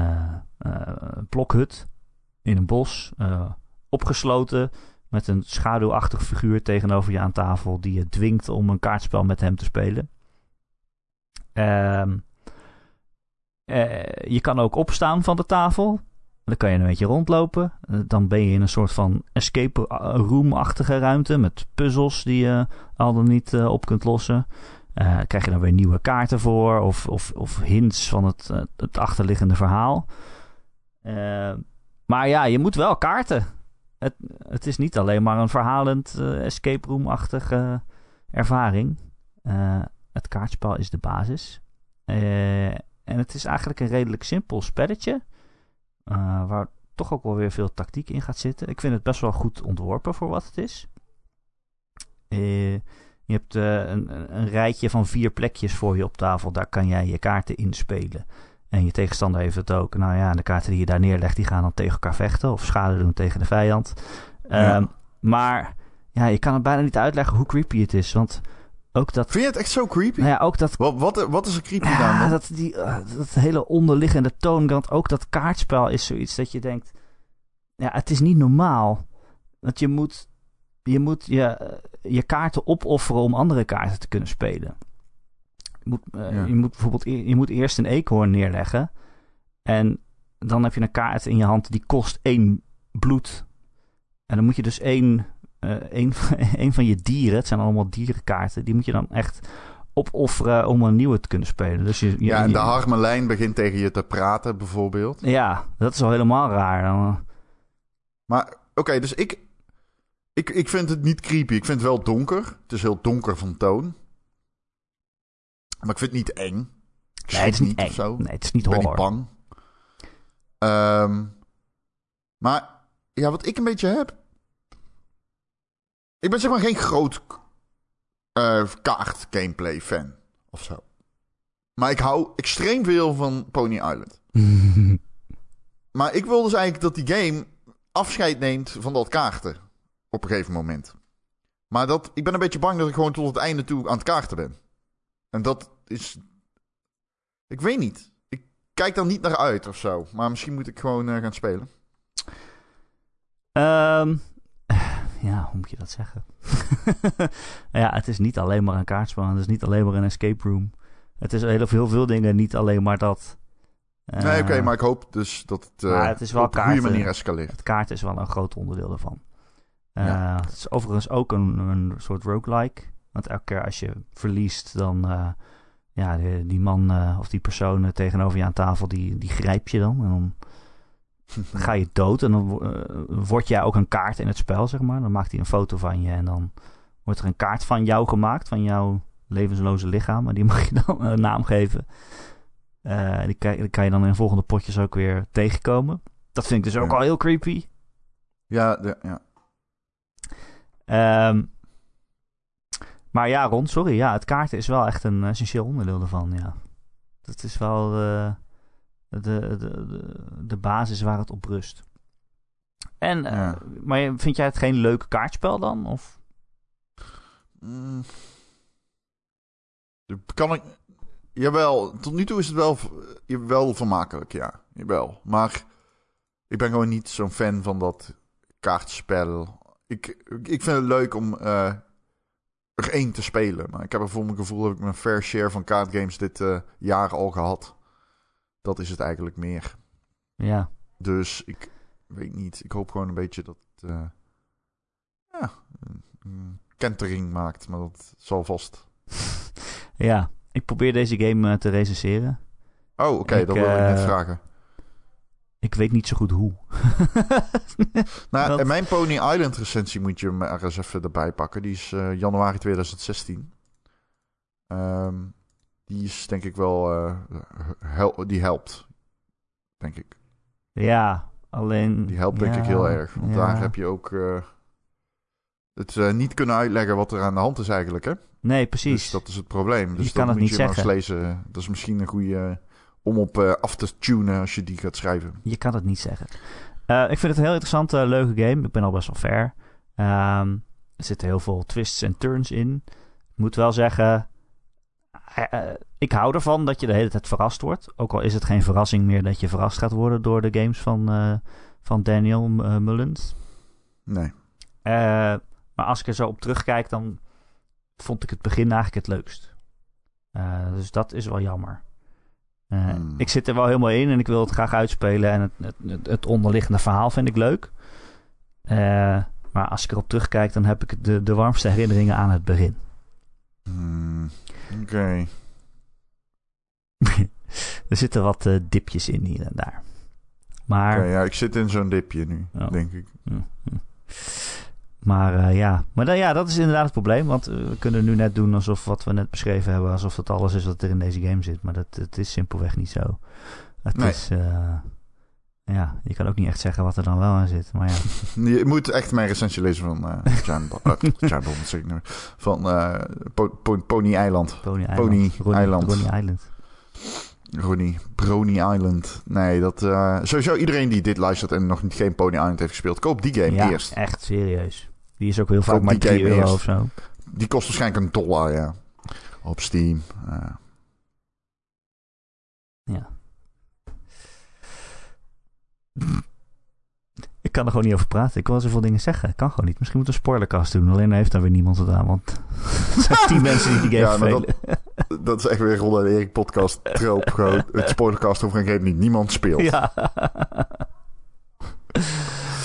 Speaker 1: eh, eh, blokhut in een bos, eh, opgesloten met een schaduwachtig figuur tegenover je aan tafel die je dwingt om een kaartspel met hem te spelen. Ehm, eh, je kan ook opstaan van de tafel. Dan kan je een beetje rondlopen. Eh, Dan ben je in een soort van escape room-achtige ruimte met puzzels die je al dan niet eh, op kunt lossen. Eh, krijg je dan weer nieuwe kaarten voor of, of, of hints van het, eh, het achterliggende verhaal. Eh, maar ja, je moet wel kaarten. Het, het is niet alleen maar een verhalend eh, escape eh, room-achtige ervaring. Eh, het kaartspel is de basis. Eh, en het is eigenlijk een redelijk simpel spelletje. eh, waar toch ook wel weer veel tactiek in gaat zitten. Ik vind het best wel goed ontworpen voor wat het is. Eh, je hebt eh, een, een- een rijtje van vier plekjes voor je op tafel. Daar kan jij je kaarten inspelen. En je tegenstander heeft het ook. Nou ja, de kaarten die je daar neerlegt, die gaan dan tegen elkaar vechten. Of schade doen tegen de vijand.
Speaker 2: Ja.
Speaker 1: Ehm, Maar ja, je kan het bijna niet uitleggen hoe creepy het is. Want ook dat...
Speaker 2: Vind je het echt zo creepy?
Speaker 1: Nou ja, ook dat
Speaker 2: Wat, wat, wat is er creepy aan
Speaker 1: Ja,
Speaker 2: dan?
Speaker 1: dat, die, eh, dat hele onderliggende toongrand, ook dat kaartspel is zoiets dat je denkt... Ja, het is niet normaal. Want je moet je, moet je, eh, je kaarten opofferen om andere kaarten te kunnen spelen. Je moet, eh,
Speaker 2: Ja.
Speaker 1: je moet bijvoorbeeld e- je moet eerst een eekhoorn neerleggen. En dan heb je een kaart in je hand die kost één bloed. En dan moet je dus één, eh één, (laughs) van- één van je dieren, het zijn allemaal dierenkaarten, die moet je dan echt opofferen om een nieuwe te kunnen spelen. Dus je, je-
Speaker 2: Ja, en
Speaker 1: je-
Speaker 2: de harmelijn begint tegen je te praten, bijvoorbeeld.
Speaker 1: ja, dat is al helemaal raar. Dan, eh,
Speaker 2: Maar oké, dus ik, ik, ik vind het niet creepy. Ik vind het wel donker. Het is heel donker van toon. Maar ik vind het niet eng. Ik
Speaker 1: nee, het is
Speaker 2: schrik
Speaker 1: niet
Speaker 2: of
Speaker 1: eng.
Speaker 2: zo.
Speaker 1: Nee, het is niet
Speaker 2: Ik ben niet
Speaker 1: horror.
Speaker 2: bang. Ehm, maar ja, wat ik een beetje heb. Ik ben zeg maar geen groot eh kaart gameplay fan of zo. Maar ik hou extreem veel van Pony Island. Maar ik wil dus eigenlijk dat die game afscheid neemt van dat kaarten. Op een gegeven moment. Maar dat, ik ben een beetje bang dat ik gewoon tot het einde toe aan het kaarten ben. En dat is. Ik weet niet. Ik kijk daar niet naar uit of zo. Maar misschien moet ik gewoon eh, gaan spelen.
Speaker 1: (laughs) Ehm, (sighs) ja, hoe moet je dat zeggen? (laughs) ja, het is niet alleen maar een kaartspel. Het is niet alleen maar een escape room. Het is heel veel, veel dingen, niet alleen maar dat. Eh,
Speaker 2: nee, oké, maar ik hoop dus dat het, eh,
Speaker 1: maar het is wel
Speaker 2: op een goede
Speaker 1: kaarten.
Speaker 2: manier escaleert.
Speaker 1: Het kaart is wel een groot onderdeel ervan. Eh,
Speaker 2: Ja.
Speaker 1: Het is overigens ook een, een soort roguelike. Want elke keer als je verliest, dan... eh, ja, die, die man eh, of die persoon eh, tegenover je aan tafel, die, die grijp je dan. En dan ga je dood en dan wo- eh, word jij ook een kaart in het spel, zeg maar. Dan maakt hij een foto van je en dan wordt er een kaart van jou gemaakt, van jouw levensloze lichaam. En die mag je dan een naam geven. Eh, die, kan, die kan je dan in volgende potjes ook weer tegenkomen. Dat vind ik dus ook
Speaker 2: Ja.
Speaker 1: al heel creepy.
Speaker 2: (laughs) Ja, de- ja.
Speaker 1: Ehm, maar ja, Ron, sorry. Ja, het kaarten is wel echt een essentieel onderdeel ervan, ja. Dat is wel eh, de, de, de, de basis waar het op rust. En, eh,
Speaker 2: Ja.
Speaker 1: Maar je- vind jij het geen leuk kaartspel dan? Of?
Speaker 2: Mm. Kan ik. Jawel, tot nu toe is het wel, eh, wel vermakelijk, ja. Jawel. Maar ik ben gewoon niet zo'n fan van dat kaartspel. Ik, ik vind het leuk om eh, er één te spelen. Maar ik heb er voor mijn gevoel heb ik mijn fair share van kaartgames dit eh, jaar al gehad. Dat is het eigenlijk meer.
Speaker 1: Ja. (laughs)
Speaker 2: Dus ik weet niet. Ik hoop gewoon een beetje dat het eh, ja, een- een kentering maakt. Maar dat zal vast
Speaker 1: ja, ik probeer deze game eh, te recenseren.
Speaker 2: Oh, oké,
Speaker 1: Ik,
Speaker 2: dat wilde ik net
Speaker 1: eh,
Speaker 2: vragen.
Speaker 1: Ik weet niet zo goed hoe. (laughs)
Speaker 2: Nou,
Speaker 1: dat-
Speaker 2: en mijn Pony Island recensie moet je maar eens even erbij pakken. Die is eh, januari 2016. Ehm, die is denk ik wel... eh, hel- die helpt, denk ik.
Speaker 1: Ja, alleen...
Speaker 2: Die helpt denk
Speaker 1: ja,
Speaker 2: ik heel erg. Want
Speaker 1: ja.
Speaker 2: daar heb je ook... eh, het eh, niet kunnen uitleggen wat er aan de hand is eigenlijk, hè?
Speaker 1: Nee, precies.
Speaker 2: Dus dat is het probleem. Dus
Speaker 1: Je
Speaker 2: dat
Speaker 1: kan het
Speaker 2: moet
Speaker 1: niet
Speaker 2: je
Speaker 1: zeggen.
Speaker 2: maar eens lezen. Dat is misschien een goede... eh, om op eh, af te tunen als je die gaat schrijven.
Speaker 1: Je kan het niet zeggen. Eh, ik vind het een heel interessante, leuke game. Ik ben al best wel ver. Ehm, er zitten heel veel twists en turns in. Ik moet wel zeggen... eh, eh, ik hou ervan dat je de hele tijd verrast wordt. Ook al is het geen verrassing meer dat je verrast gaat worden... door de games van, eh, van Daniel eh, Mullins.
Speaker 2: Nee.
Speaker 1: Eh, maar als ik er zo op terugkijk, dan vond ik het begin eigenlijk het leukst. Eh, dus dat is wel jammer. Eh,
Speaker 2: Hmm.
Speaker 1: Ik zit er wel helemaal in en ik wil het graag uitspelen. En het, het, het, het onderliggende verhaal vind ik leuk. Eh, maar als ik erop terugkijk, dan heb ik de, de warmste herinneringen aan het begin.
Speaker 2: Hmm, Oké.
Speaker 1: er zitten wat eh, dipjes in hier en daar. Maar,
Speaker 2: Oké, ja, ik zit in zo'n dipje nu,
Speaker 1: Oh.
Speaker 2: denk ik.
Speaker 1: maar eh, ja. maar dan, ja, dat is inderdaad het probleem. Want eh, we kunnen nu net doen alsof wat we net beschreven hebben, alsof dat alles is wat er in deze game zit. Maar dat, dat is simpelweg niet zo. Het
Speaker 2: Nee.
Speaker 1: is. eh, ja, je kan ook niet echt zeggen wat er dan wel aan zit.
Speaker 2: (laughs)
Speaker 1: Maar ja.
Speaker 2: Je moet echt mijn recensie lezen van
Speaker 1: (laughs)
Speaker 2: eh Chandel- eh, Chandel, moet ik nu- van eh, Po- Po- Pony Eiland.
Speaker 1: Pony Island.
Speaker 2: Pony
Speaker 1: Ronnie,
Speaker 2: Island.
Speaker 1: Ronnie Island.
Speaker 2: Ronnie, Brony Island. Nee, dat... eh, sowieso iedereen die dit luistert en nog niet geen Pony Island heeft gespeeld, koop die game
Speaker 1: ja,
Speaker 2: eerst.
Speaker 1: echt serieus. Die is ook heel vaak
Speaker 2: Koop
Speaker 1: maar
Speaker 2: die
Speaker 1: 3
Speaker 2: game
Speaker 1: euro
Speaker 2: eerst.
Speaker 1: of zo.
Speaker 2: Die kost waarschijnlijk een dollar, ja. Op Steam. eh.
Speaker 1: Ja. Ik kan er gewoon niet over praten. Ik wil zoveel dingen zeggen. Ik kan gewoon niet. Misschien moeten we een spoilercast doen. Alleen heeft daar weer niemand het aan. Want (laughs) er zijn
Speaker 2: (laughs)
Speaker 1: tien mensen die die game
Speaker 2: Ja, maar dat-
Speaker 1: spelen.
Speaker 2: Dat is echt weer Ron en Erik podcast troop.
Speaker 1: (laughs)
Speaker 2: Gewoon. Het spoilercast hoeft geen game die niemand speelt. (laughs)
Speaker 1: Ja.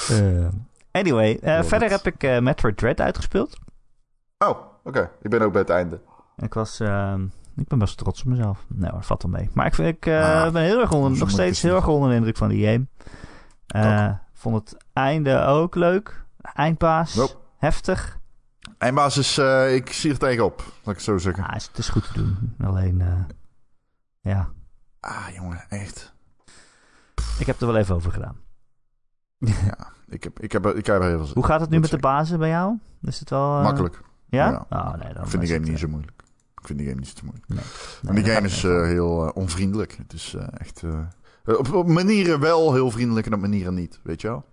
Speaker 1: Eh, anyway, eh,
Speaker 2: Love
Speaker 1: verder
Speaker 2: it.
Speaker 1: heb ik eh, Metroid Dread uitgespeeld.
Speaker 2: Oh, oké. Ik ben ook bij het einde.
Speaker 1: Ik was... ehm, ik ben best trots op mezelf. Nee hoor, valt wel mee. Maar ik, vind- ik eh,
Speaker 2: Ah,
Speaker 1: ben heel erg onder, nog
Speaker 2: zo moet het
Speaker 1: steeds heel
Speaker 2: niet.
Speaker 1: erg onder de indruk van die game. Eh, vond het einde ook leuk. Eindbaas.
Speaker 2: Nope.
Speaker 1: Heftig.
Speaker 2: Eindbaas is, eh, ik zie er tegenop. Laat ik het zo zeggen.
Speaker 1: Ja, Ah, het is- het is goed te doen. Alleen, eh, ja,
Speaker 2: Ah, jongen, echt.
Speaker 1: ik heb er wel even over gedaan.
Speaker 2: (laughs) Ja, ik heb, ik heb, ik heb er heel veel zin
Speaker 1: Hoe gaat het nu
Speaker 2: Dat
Speaker 1: met de
Speaker 2: zeker.
Speaker 1: bazen bij jou? Is het wel...
Speaker 2: in.
Speaker 1: eh,
Speaker 2: Makkelijk.
Speaker 1: Ja?
Speaker 2: ja.
Speaker 1: Oh, nee, dan
Speaker 2: Ik vind die
Speaker 1: is
Speaker 2: game
Speaker 1: het,
Speaker 2: niet
Speaker 1: eh,
Speaker 2: zo moeilijk. Ik vind die game niet zo moeilijk.
Speaker 1: nee,
Speaker 2: en die
Speaker 1: dat
Speaker 2: game
Speaker 1: gaat
Speaker 2: is
Speaker 1: niet.
Speaker 2: eh, heel eh, onvriendelijk. Het is eh, echt... eh, op, op manieren wel heel vriendelijk en op manieren niet. Weet je wel?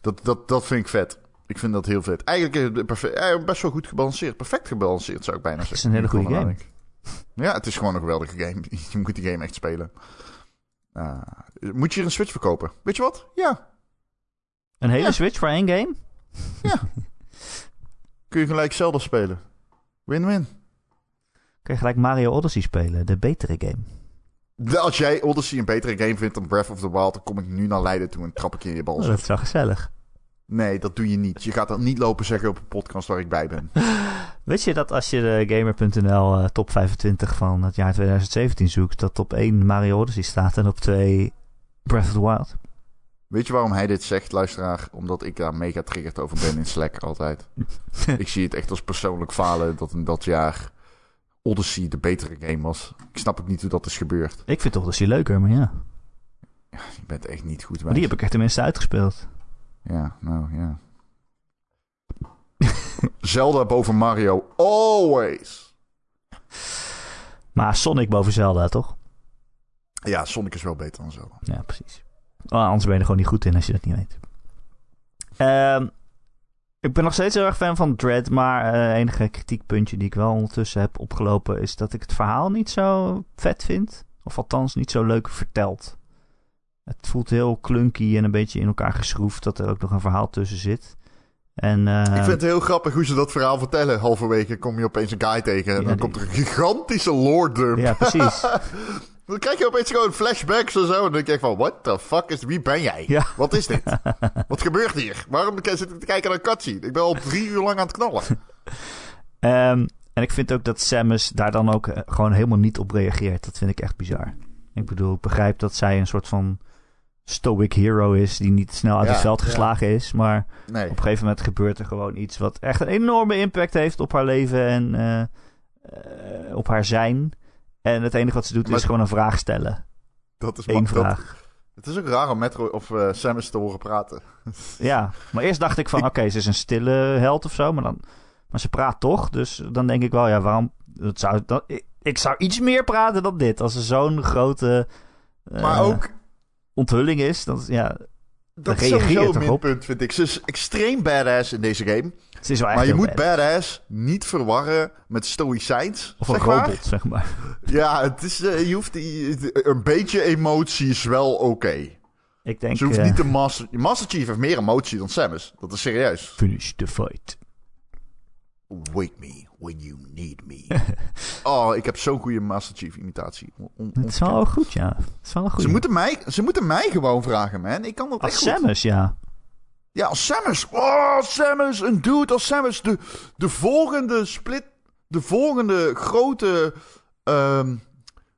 Speaker 2: Dat, dat, dat vind ik vet. Ik vind dat heel vet. Eigenlijk is het perfe- eh, best wel goed gebalanceerd. Perfect gebalanceerd zou ik bijna
Speaker 1: Het
Speaker 2: zeggen.
Speaker 1: is een hele
Speaker 2: Nu ik
Speaker 1: goede
Speaker 2: erover
Speaker 1: game.
Speaker 2: nadenk. Ja, het is gewoon een geweldige game. (laughs) Je moet die game echt spelen. Ah, moet je hier een Switch verkopen? Weet je wat? Ja.
Speaker 1: Een hele
Speaker 2: Ja.
Speaker 1: Switch voor één game?
Speaker 2: Ja. Kun je gelijk Zelda spelen. Win-win.
Speaker 1: Kun je gelijk Mario Odyssey spelen, de betere game.
Speaker 2: Als jij Odyssey een betere game vindt dan Breath of the Wild, dan kom ik nu naar Leiden toe en trap ik je in je
Speaker 1: Oh,
Speaker 2: bal.
Speaker 1: dat is wel gezellig.
Speaker 2: Nee, dat doe je niet. Je gaat dat niet lopen zeggen op een podcast waar ik bij ben.
Speaker 1: Weet je dat als je de Gamer.nl eh, top 25 van het jaar 2017 zoekt, dat op één Mario Odyssey staat en op twee Breath of the Wild?
Speaker 2: Weet je waarom hij dit zegt, luisteraar? Omdat ik daar mega triggerd over ben in Slack
Speaker 1: (laughs)
Speaker 2: altijd. ik zie het echt als persoonlijk falen dat in dat jaar Odyssey de betere game was. Ik snap ook niet hoe dat is gebeurd.
Speaker 1: Ik vind Odyssey leuker, maar ja.
Speaker 2: Je bent echt niet goed bij.
Speaker 1: Maar die heb ik er tenminste uitgespeeld.
Speaker 2: Ja, nou ja. (laughs) Zelda boven Mario, always.
Speaker 1: Maar Sonic boven Zelda, toch?
Speaker 2: Ja, Sonic is wel beter dan Zelda.
Speaker 1: Ja, precies. Oh, anders ben je er gewoon niet goed in als je dat niet weet. Ehm, ik ben nog steeds heel erg fan van Dread, maar het enige kritiekpuntje die ik wel ondertussen heb opgelopen is dat ik het verhaal niet zo vet vind. Of althans niet zo leuk verteld. Het voelt heel klunky en een beetje in elkaar geschroefd dat er ook nog een verhaal tussen zit. En,
Speaker 2: Ik
Speaker 1: ehm,
Speaker 2: vind het heel grappig hoe ze dat verhaal vertellen. Halverwege kom je opeens een guy tegen. En
Speaker 1: Ja,
Speaker 2: dan
Speaker 1: die-
Speaker 2: komt er een gigantische lore dump.
Speaker 1: Ja,
Speaker 2: (laughs)
Speaker 1: precies.
Speaker 2: Dan krijg je opeens gewoon flashbacks en zo. En dan denk je echt van, what the fuck is... Wie ben jij?
Speaker 1: Ja.
Speaker 2: Wat
Speaker 1: (laughs)
Speaker 2: is dit? Wat gebeurt hier? Waarom zit ik te kijken naar een cutscene? Ik ben al drie uur lang aan het knallen.
Speaker 1: Ehm, en ik vind ook dat Samus daar dan ook eh, gewoon helemaal niet op reageert. Dat vind ik echt bizar. Ik bedoel, ik begrijp dat zij een soort van stoic hero is... die niet snel uit
Speaker 2: Ja,
Speaker 1: het veld
Speaker 2: ja.
Speaker 1: geslagen is. Maar
Speaker 2: Nee.
Speaker 1: op een gegeven moment gebeurt er gewoon iets... wat echt een enorme impact heeft op haar leven en eh, eh, op haar zijn. En het enige wat ze doet
Speaker 2: Maar-
Speaker 1: is gewoon een vraag stellen.
Speaker 2: Dat is
Speaker 1: Eén
Speaker 2: dat-
Speaker 1: vraag.
Speaker 2: het is ook raar om Metro of eh, Samus te horen praten.
Speaker 1: Ja, maar eerst dacht ik van... oké, ze is een stille held of zo, maar, dan, maar ze praat toch. Dus dan denk ik wel, ja, waarom... Dat zou, dat, ik, ik zou iets meer praten dan dit. Als er zo'n grote eh,
Speaker 2: Maar ook...
Speaker 1: onthulling is, dan is- ja,
Speaker 2: Dat is
Speaker 1: reageer je
Speaker 2: sowieso
Speaker 1: toch
Speaker 2: een
Speaker 1: op?
Speaker 2: minpunt, vind ik. Ze is extreem badass in deze game.
Speaker 1: ze is wel echt
Speaker 2: maar je
Speaker 1: heel
Speaker 2: moet
Speaker 1: bad.
Speaker 2: badass niet verwarren met stoïcijns.
Speaker 1: Of een
Speaker 2: zeg maar.
Speaker 1: robot, zeg maar.
Speaker 2: Ja, het is, eh, je hoeft, die- een beetje emotie is wel oké.
Speaker 1: Ik denk,
Speaker 2: Ze hoeft
Speaker 1: eh,
Speaker 2: niet de Master... Master Chief heeft meer emotie dan Samus. Dat is serieus.
Speaker 1: finish the fight.
Speaker 2: Wake me when you need
Speaker 1: (laughs)
Speaker 2: me. oh, ik heb zo'n goede Master Chief imitatie. On- on-
Speaker 1: Het is wel
Speaker 2: onverkend.
Speaker 1: goed, ja. Het is wel een
Speaker 2: ze,
Speaker 1: goede.
Speaker 2: moeten mij, ze moeten mij gewoon vragen, man. Ik kan dat
Speaker 1: Als
Speaker 2: echt goed.
Speaker 1: Samus, ja.
Speaker 2: Ja, als Samus. Oh, Samus. Een dude als Samus. De, de volgende split... De volgende grote... ehm,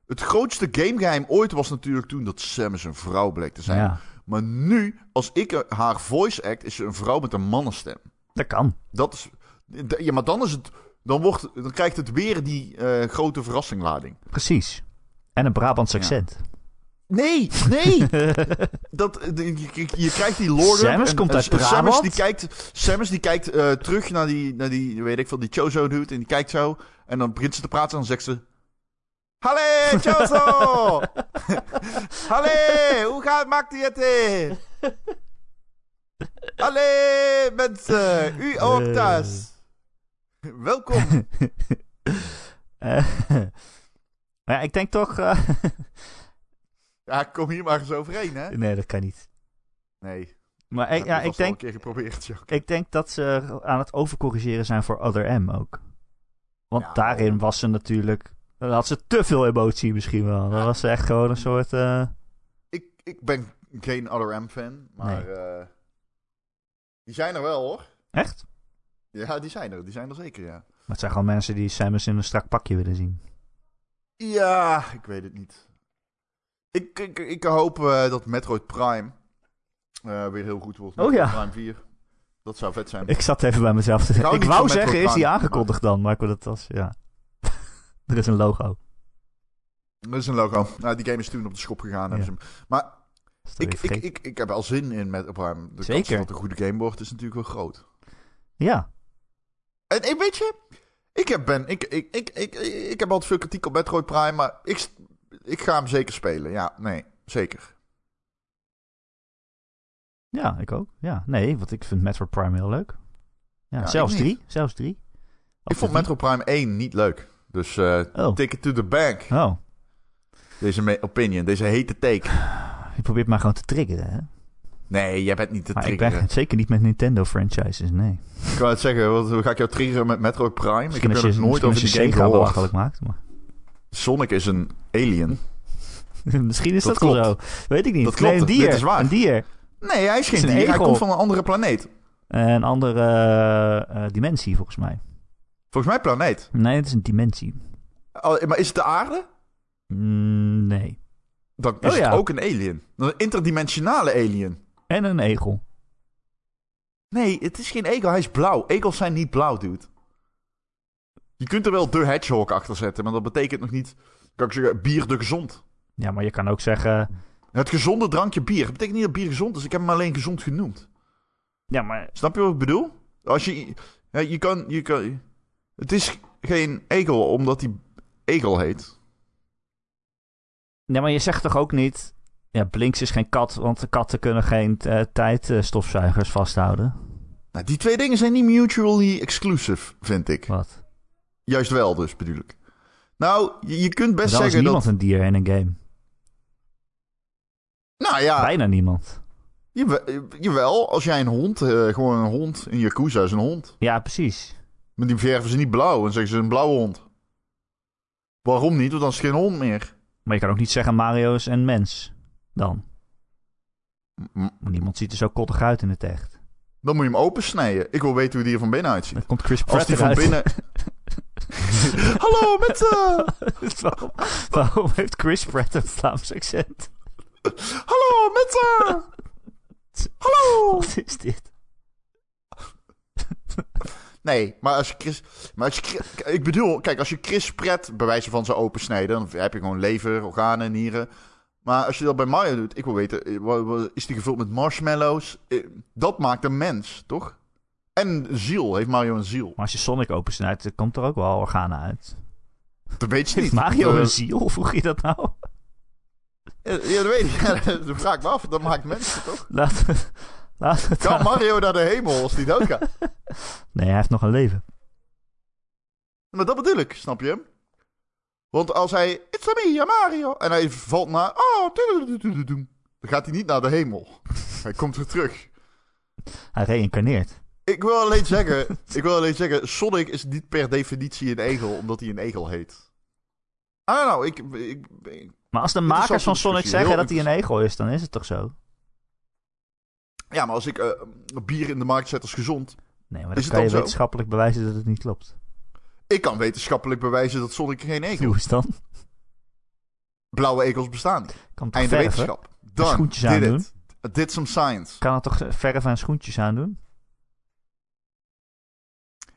Speaker 2: het grootste gamegeheim ooit was natuurlijk toen dat Samus een vrouw bleek te zijn.
Speaker 1: ja.
Speaker 2: Maar nu, als ik eh, haar voice act, is ze een vrouw met een mannenstem.
Speaker 1: Dat kan.
Speaker 2: Dat is. d- Ja, maar dan is het. Dan, wordt, dan krijgt het weer die eh, grote verrassinglading.
Speaker 1: Precies. En een Brabants
Speaker 2: Ja.
Speaker 1: accent.
Speaker 2: Nee, nee! (laughs) dat, eh, de- je, je- je krijgt die lore.
Speaker 1: Samus komt uit
Speaker 2: Samus
Speaker 1: Brabant.
Speaker 2: die kijkt, Samus die kijkt eh, terug naar die, naar die, weet ik veel, die Chozo dude. En die kijkt zo. En dan begint ze te praten en dan zegt ze... Halle,
Speaker 1: (laughs)
Speaker 2: Chozo!
Speaker 1: (laughs)
Speaker 2: Halle, hoe gaat, maakt die het? eh?" Allee, mensen, u ook thuis. Welkom.
Speaker 1: (laughs) Eh, (laughs) maar ja, ik denk toch... eh, (laughs)
Speaker 2: Ja, kom hier maar eens overheen, hè?
Speaker 1: nee, dat kan niet.
Speaker 2: Nee.
Speaker 1: Maar ik,
Speaker 2: dat
Speaker 1: ja,
Speaker 2: was
Speaker 1: ik,
Speaker 2: al
Speaker 1: denk,
Speaker 2: een keer geprobeerd, joh.
Speaker 1: ik denk dat ze aan het overcorrigeren zijn voor Other M ook. Want
Speaker 2: Ja,
Speaker 1: daarin
Speaker 2: oh.
Speaker 1: was ze natuurlijk... Dan had ze te veel emotie misschien wel. Dan was ze echt gewoon een soort... eh,
Speaker 2: Ik, ik ben geen Other M-fan, maar... eh, die zijn er wel, hoor.
Speaker 1: echt?
Speaker 2: Ja, die zijn er. Die zijn er zeker, ja.
Speaker 1: Maar het zijn gewoon mensen die Samus in een strak pakje willen zien.
Speaker 2: Ja, ik weet het niet. Ik, ik, ik hoop eh, dat Metroid Prime eh, weer heel goed wordt.
Speaker 1: Oh
Speaker 2: Metroid
Speaker 1: ja.
Speaker 2: Prime 4. Dat zou vet zijn.
Speaker 1: Ik zat even bij mezelf te
Speaker 2: Ik hou
Speaker 1: Ik
Speaker 2: niet
Speaker 1: wou
Speaker 2: van Metroid
Speaker 1: zeggen, is die
Speaker 2: Prime,
Speaker 1: aangekondigd dan? Maar ik wil dat als... Ja. (laughs) er is een logo.
Speaker 2: Dat is een logo. Nou, die game is toen op de schop gegaan. hebben
Speaker 1: Ja.
Speaker 2: ze hem. Maar
Speaker 1: Dat is er
Speaker 2: ik,
Speaker 1: weer
Speaker 2: ik,
Speaker 1: vergeten.
Speaker 2: ik, ik heb al zin in Metroid Prime. De kans
Speaker 1: Zeker.
Speaker 2: dat het een goede game wordt is natuurlijk wel groot.
Speaker 1: Ja.
Speaker 2: En ik weet je, ik heb, ben, ik, ik, ik, ik, ik heb altijd veel kritiek op Metroid Prime, maar ik, s- ik ga hem zeker spelen. Ja, nee, zeker.
Speaker 1: ja, ik ook. Ja. Nee, want ik vind Metroid Prime heel leuk. Ja,
Speaker 2: Ja,
Speaker 1: zelfs
Speaker 2: ik niet.
Speaker 1: drie. Zelfs drie.
Speaker 2: Ik
Speaker 1: Of
Speaker 2: vond
Speaker 1: drie.
Speaker 2: Metroid Prime 1 niet leuk. Dus eh
Speaker 1: Oh.
Speaker 2: take it to the bank.
Speaker 1: Oh,
Speaker 2: Deze me- opinion, deze hete take.
Speaker 1: je probeert maar gewoon te triggeren, hè?
Speaker 2: Nee, jij bent niet te
Speaker 1: maar
Speaker 2: triggeren.
Speaker 1: ik ben (laughs) zeker niet met Nintendo-franchises, nee.
Speaker 2: Ik wou het zeggen, wat, hoe ga ik jou triggeren met Metroid Prime? Ik
Speaker 1: Misschien
Speaker 2: heb
Speaker 1: als
Speaker 2: er
Speaker 1: je,
Speaker 2: nog nooit
Speaker 1: misschien
Speaker 2: over
Speaker 1: als je
Speaker 2: die game
Speaker 1: Sega belachelijk
Speaker 2: gehoord.
Speaker 1: maakt. Maar
Speaker 2: Sonic is een
Speaker 1: (laughs)
Speaker 2: alien.
Speaker 1: misschien is
Speaker 2: Dat
Speaker 1: dat, wel zo. Weet ik niet.
Speaker 2: Dat klopt.
Speaker 1: Nee, een dier.
Speaker 2: Dit is waar.
Speaker 1: Een dier.
Speaker 2: Nee, hij is
Speaker 1: Hm. is
Speaker 2: geen
Speaker 1: een
Speaker 2: dier. Hij
Speaker 1: egel.
Speaker 2: komt van een andere planeet.
Speaker 1: Een andere eh, eh, dimensie, volgens mij.
Speaker 2: Volgens mij planeet.
Speaker 1: Nee, het is een dimensie.
Speaker 2: Oh, maar is het de aarde?
Speaker 1: Mm, nee.
Speaker 2: Dan is
Speaker 1: Oh ja.
Speaker 2: het ook een alien. Een interdimensionale alien.
Speaker 1: En een egel.
Speaker 2: Nee, het is geen egel. Hij is blauw. Egels zijn niet blauw, dude. Je kunt er wel de hedgehog achter zetten, maar dat betekent nog niet... Kan ik zeggen, bier de gezond.
Speaker 1: Ja, maar je kan ook zeggen...
Speaker 2: Het gezonde drankje bier. Dat betekent niet dat bier gezond is. Ik heb hem alleen gezond genoemd.
Speaker 1: Ja, maar...
Speaker 2: Snap je wat ik bedoel? Als je, ja, je kan, je kan, het is geen egel omdat hij egel heet.
Speaker 1: Nee, maar je zegt toch ook niet... Ja, Blinks is geen kat, want de katten kunnen geen eh, tijdstofzuigers vasthouden.
Speaker 2: Nou, die twee dingen zijn niet mutually exclusive, vind ik.
Speaker 1: Wat?
Speaker 2: Juist wel dus, bedoel ik. Nou, je, je kunt
Speaker 1: Dan
Speaker 2: best
Speaker 1: is
Speaker 2: zeggen
Speaker 1: niemand
Speaker 2: dat...
Speaker 1: een dier in een game.
Speaker 2: Nou ja,
Speaker 1: Bijna niemand.
Speaker 2: je, jawel, als jij een hond, eh, gewoon een hond, een Yakuza is een hond.
Speaker 1: Ja, precies.
Speaker 2: Maar die verven ze niet blauw en zeggen ze een blauwe hond. Waarom niet? Want dan is het geen hond meer.
Speaker 1: Maar je kan ook niet zeggen Mario is een mens. Dan.
Speaker 2: M-
Speaker 1: Want niemand ziet er zo koddig uit in het echt.
Speaker 2: Dan moet je hem opensnijden. Ik wil weten hoe die er van binnen uitziet.
Speaker 1: Dan komt Chris
Speaker 2: Als
Speaker 1: Pratt
Speaker 2: die van
Speaker 1: eruit.
Speaker 2: binnen... Hallo, mensen!
Speaker 1: (laughs) waarom, waarom heeft Chris Pratt een Vlaams accent?
Speaker 2: Hallo, mensen! Hallo!
Speaker 1: Wat is dit? (laughs)
Speaker 2: Nee, maar als je Chris... Maar als je, Chris- ik bedoel, kijk, als je Chris Pret bij wijze van zou opensnijden... dan heb je gewoon lever, organen, nieren. Maar als je dat bij Mario doet, ik wil weten... eh, wa- wa- is die gevuld met marshmallows? Eh, Dat maakt een mens, toch? En ziel. Heeft Mario een ziel?
Speaker 1: Maar als je Sonic opensnijdt, dan komt er ook wel organen uit.
Speaker 2: Dat weet je
Speaker 1: Heeft
Speaker 2: niet.
Speaker 1: Mario
Speaker 2: Eh,
Speaker 1: een ziel? Vroeg je dat nou?
Speaker 2: eh, Ja, dat weet ik. Ja, (laughs) dat vraag ik me af. Dat maakt mensen, toch?
Speaker 1: Laat, laat het
Speaker 2: Kan
Speaker 1: daar-
Speaker 2: Mario naar de hemel als die doodgaat?
Speaker 1: Nee, hij heeft nog een leven.
Speaker 2: Maar Nou, dat bedoel ik, snap je? Want als hij, it's a me, I'm Mario, en hij valt naar, oh, tudududududoem, dan gaat hij niet naar de hemel. Hij komt weer terug.
Speaker 1: Hij reïncarneert.
Speaker 2: Ik wil alleen zeggen, (laughs) ik wil alleen zeggen, Sonic is niet per definitie een egel, omdat hij een egel heet. I don't know, ik, ik, ik-
Speaker 1: Maar als de
Speaker 2: Interessante
Speaker 1: makers van Sonic
Speaker 2: discussie,
Speaker 1: zeggen
Speaker 2: heel
Speaker 1: dat hij een egel is, dan is het toch zo?
Speaker 2: ja, maar als ik eh, bier in de markt zet als gezond,
Speaker 1: Nee, maar
Speaker 2: Is
Speaker 1: dan
Speaker 2: het
Speaker 1: kan je
Speaker 2: dan zo?
Speaker 1: wetenschappelijk bewijzen dat het niet klopt.
Speaker 2: ik kan wetenschappelijk bewijzen dat Sonic geen egel
Speaker 1: Hoe
Speaker 2: is.
Speaker 1: is dan?
Speaker 2: Blauwe egels bestaan niet.
Speaker 1: Kan het
Speaker 2: Einde
Speaker 1: toch verven?
Speaker 2: wetenschap. Dan,
Speaker 1: schoentjes
Speaker 2: did
Speaker 1: aandoen.
Speaker 2: it. I Did some science.
Speaker 1: Kan het toch verven en schoentjes aandoen?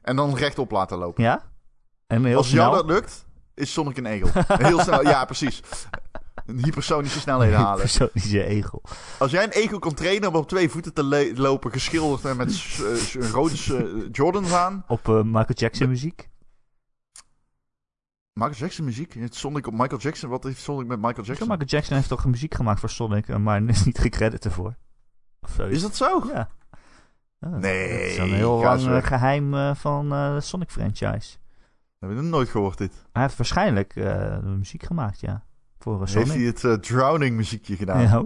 Speaker 2: En dan rechtop laten lopen.
Speaker 1: Ja? En heel
Speaker 2: Als
Speaker 1: snel.
Speaker 2: jou dat lukt, is Sonic een egel. (laughs) Heel snel, ja, precies. Een hypersonische
Speaker 1: (laughs)
Speaker 2: snelheden halen.
Speaker 1: Persoonlijke egel.
Speaker 2: Als jij een egel kan trainen om op twee voeten te le- lopen, geschilderd en met
Speaker 1: (laughs)
Speaker 2: s- eh, s- rode eh, Jordans aan.
Speaker 1: Op eh, Michael Jackson muziek.
Speaker 2: Michael Jackson muziek? Heeft Sonic op Michael Jackson? Wat heeft Sonic met Michael
Speaker 1: Ja,
Speaker 2: Jackson?
Speaker 1: Michael (laughs) Jackson heeft toch muziek gemaakt voor Sonic, eh, maar is niet gecrediteerd ervoor. Of zo.
Speaker 2: Is dat zo?
Speaker 1: Ja. Oh,
Speaker 2: Nee,
Speaker 1: Dat is een heel
Speaker 2: ga
Speaker 1: lang
Speaker 2: eens
Speaker 1: eh,
Speaker 2: weg.
Speaker 1: geheim eh, van eh, de Sonic franchise.
Speaker 2: Heb je nog nooit gehoord dit?
Speaker 1: Hij heeft waarschijnlijk eh, muziek gemaakt, ja. Voor eh, Sonic.
Speaker 2: Heeft hij het eh, Drowning muziekje gedaan?
Speaker 1: Ja.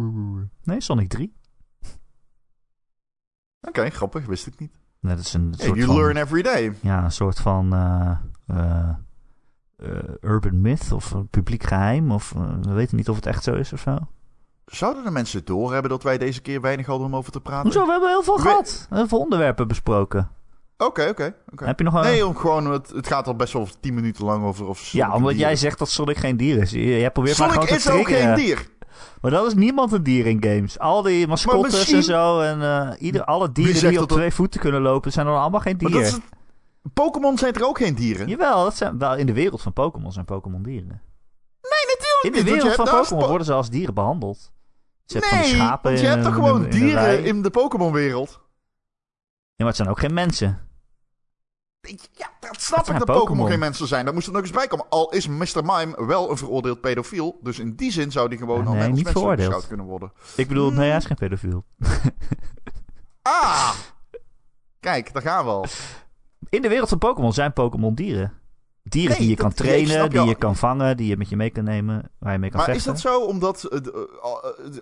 Speaker 1: (laughs) Nee, Sonic 3.
Speaker 2: Oké, grappig, wist ik niet.
Speaker 1: Nee, dat is een
Speaker 2: Hey,
Speaker 1: soort
Speaker 2: you
Speaker 1: van...
Speaker 2: learn every day.
Speaker 1: ja, een soort van eh, eh, eh, urban myth of een publiek geheim. Of eh, we weten niet of het echt zo is of
Speaker 2: Ah,
Speaker 1: zo.
Speaker 2: Zouden de mensen doorhebben dat wij deze keer weinig hadden om over te praten?
Speaker 1: Hoezo? We hebben heel veel
Speaker 2: We-
Speaker 1: gehad. Heel veel onderwerpen besproken.
Speaker 2: Oké, oké. oké.
Speaker 1: Heb eh, je nog een...
Speaker 2: Nee, om gewoon, het, het gaat al best wel 10 minuten lang over of Sonic
Speaker 1: ja,
Speaker 2: een
Speaker 1: omdat
Speaker 2: dier
Speaker 1: jij
Speaker 2: is.
Speaker 1: zegt dat Sonic geen dier is. Jij probeert maar
Speaker 2: Sonic
Speaker 1: gewoon
Speaker 2: is
Speaker 1: te
Speaker 2: ook
Speaker 1: triggeren.
Speaker 2: geen dier.
Speaker 1: Maar dat is niemand een dier in games. Al die mascottes
Speaker 2: misschien-
Speaker 1: en zo en eh, ieder, alle dieren
Speaker 2: zegt
Speaker 1: die op
Speaker 2: dat dat-
Speaker 1: twee voeten kunnen lopen zijn dan allemaal geen
Speaker 2: Maar dat is
Speaker 1: dier.
Speaker 2: het... Pokémon zijn er ook geen dieren?
Speaker 1: Jawel, dat zijn, wel, in de wereld van Pokémon zijn Pokémon dieren.
Speaker 2: Nee, natuurlijk
Speaker 1: In de
Speaker 2: niet, want je
Speaker 1: wereld
Speaker 2: hebt
Speaker 1: van
Speaker 2: daar
Speaker 1: Pokémon
Speaker 2: spo-
Speaker 1: worden ze als dieren behandeld. Je hebt van die
Speaker 2: Nee,
Speaker 1: schapen
Speaker 2: want je
Speaker 1: in
Speaker 2: hebt toch
Speaker 1: een- in
Speaker 2: gewoon
Speaker 1: een rij.
Speaker 2: dieren in de Pokémon-wereld?
Speaker 1: Ja, maar het zijn ook geen mensen.
Speaker 2: Ik- Ja, dat snap
Speaker 1: zijn
Speaker 2: ik, dat Pokémon
Speaker 1: Pokémon.
Speaker 2: geen mensen zijn. Daar moest er nog eens bij komen. Al is Mr. Mime wel een veroordeeld pedofiel. Dus in die zin zou die gewoon
Speaker 1: Ja,
Speaker 2: al
Speaker 1: nee,
Speaker 2: net als
Speaker 1: niet
Speaker 2: mensen
Speaker 1: veroordeeld.
Speaker 2: beschouwd kunnen worden.
Speaker 1: Ik bedoel, nee, hij is geen pedofiel.
Speaker 2: Ah! Kijk, daar gaan we al.
Speaker 1: In de wereld van Pokémon zijn Pokémon dieren. Dieren
Speaker 2: Nee,
Speaker 1: die je
Speaker 2: dat-
Speaker 1: kan
Speaker 2: ja, ik snap
Speaker 1: trainen, die
Speaker 2: jou.
Speaker 1: je kan vangen, die je met je mee kan nemen, waar je mee kan
Speaker 2: Maar is
Speaker 1: vechten.
Speaker 2: dat zo omdat eh, de,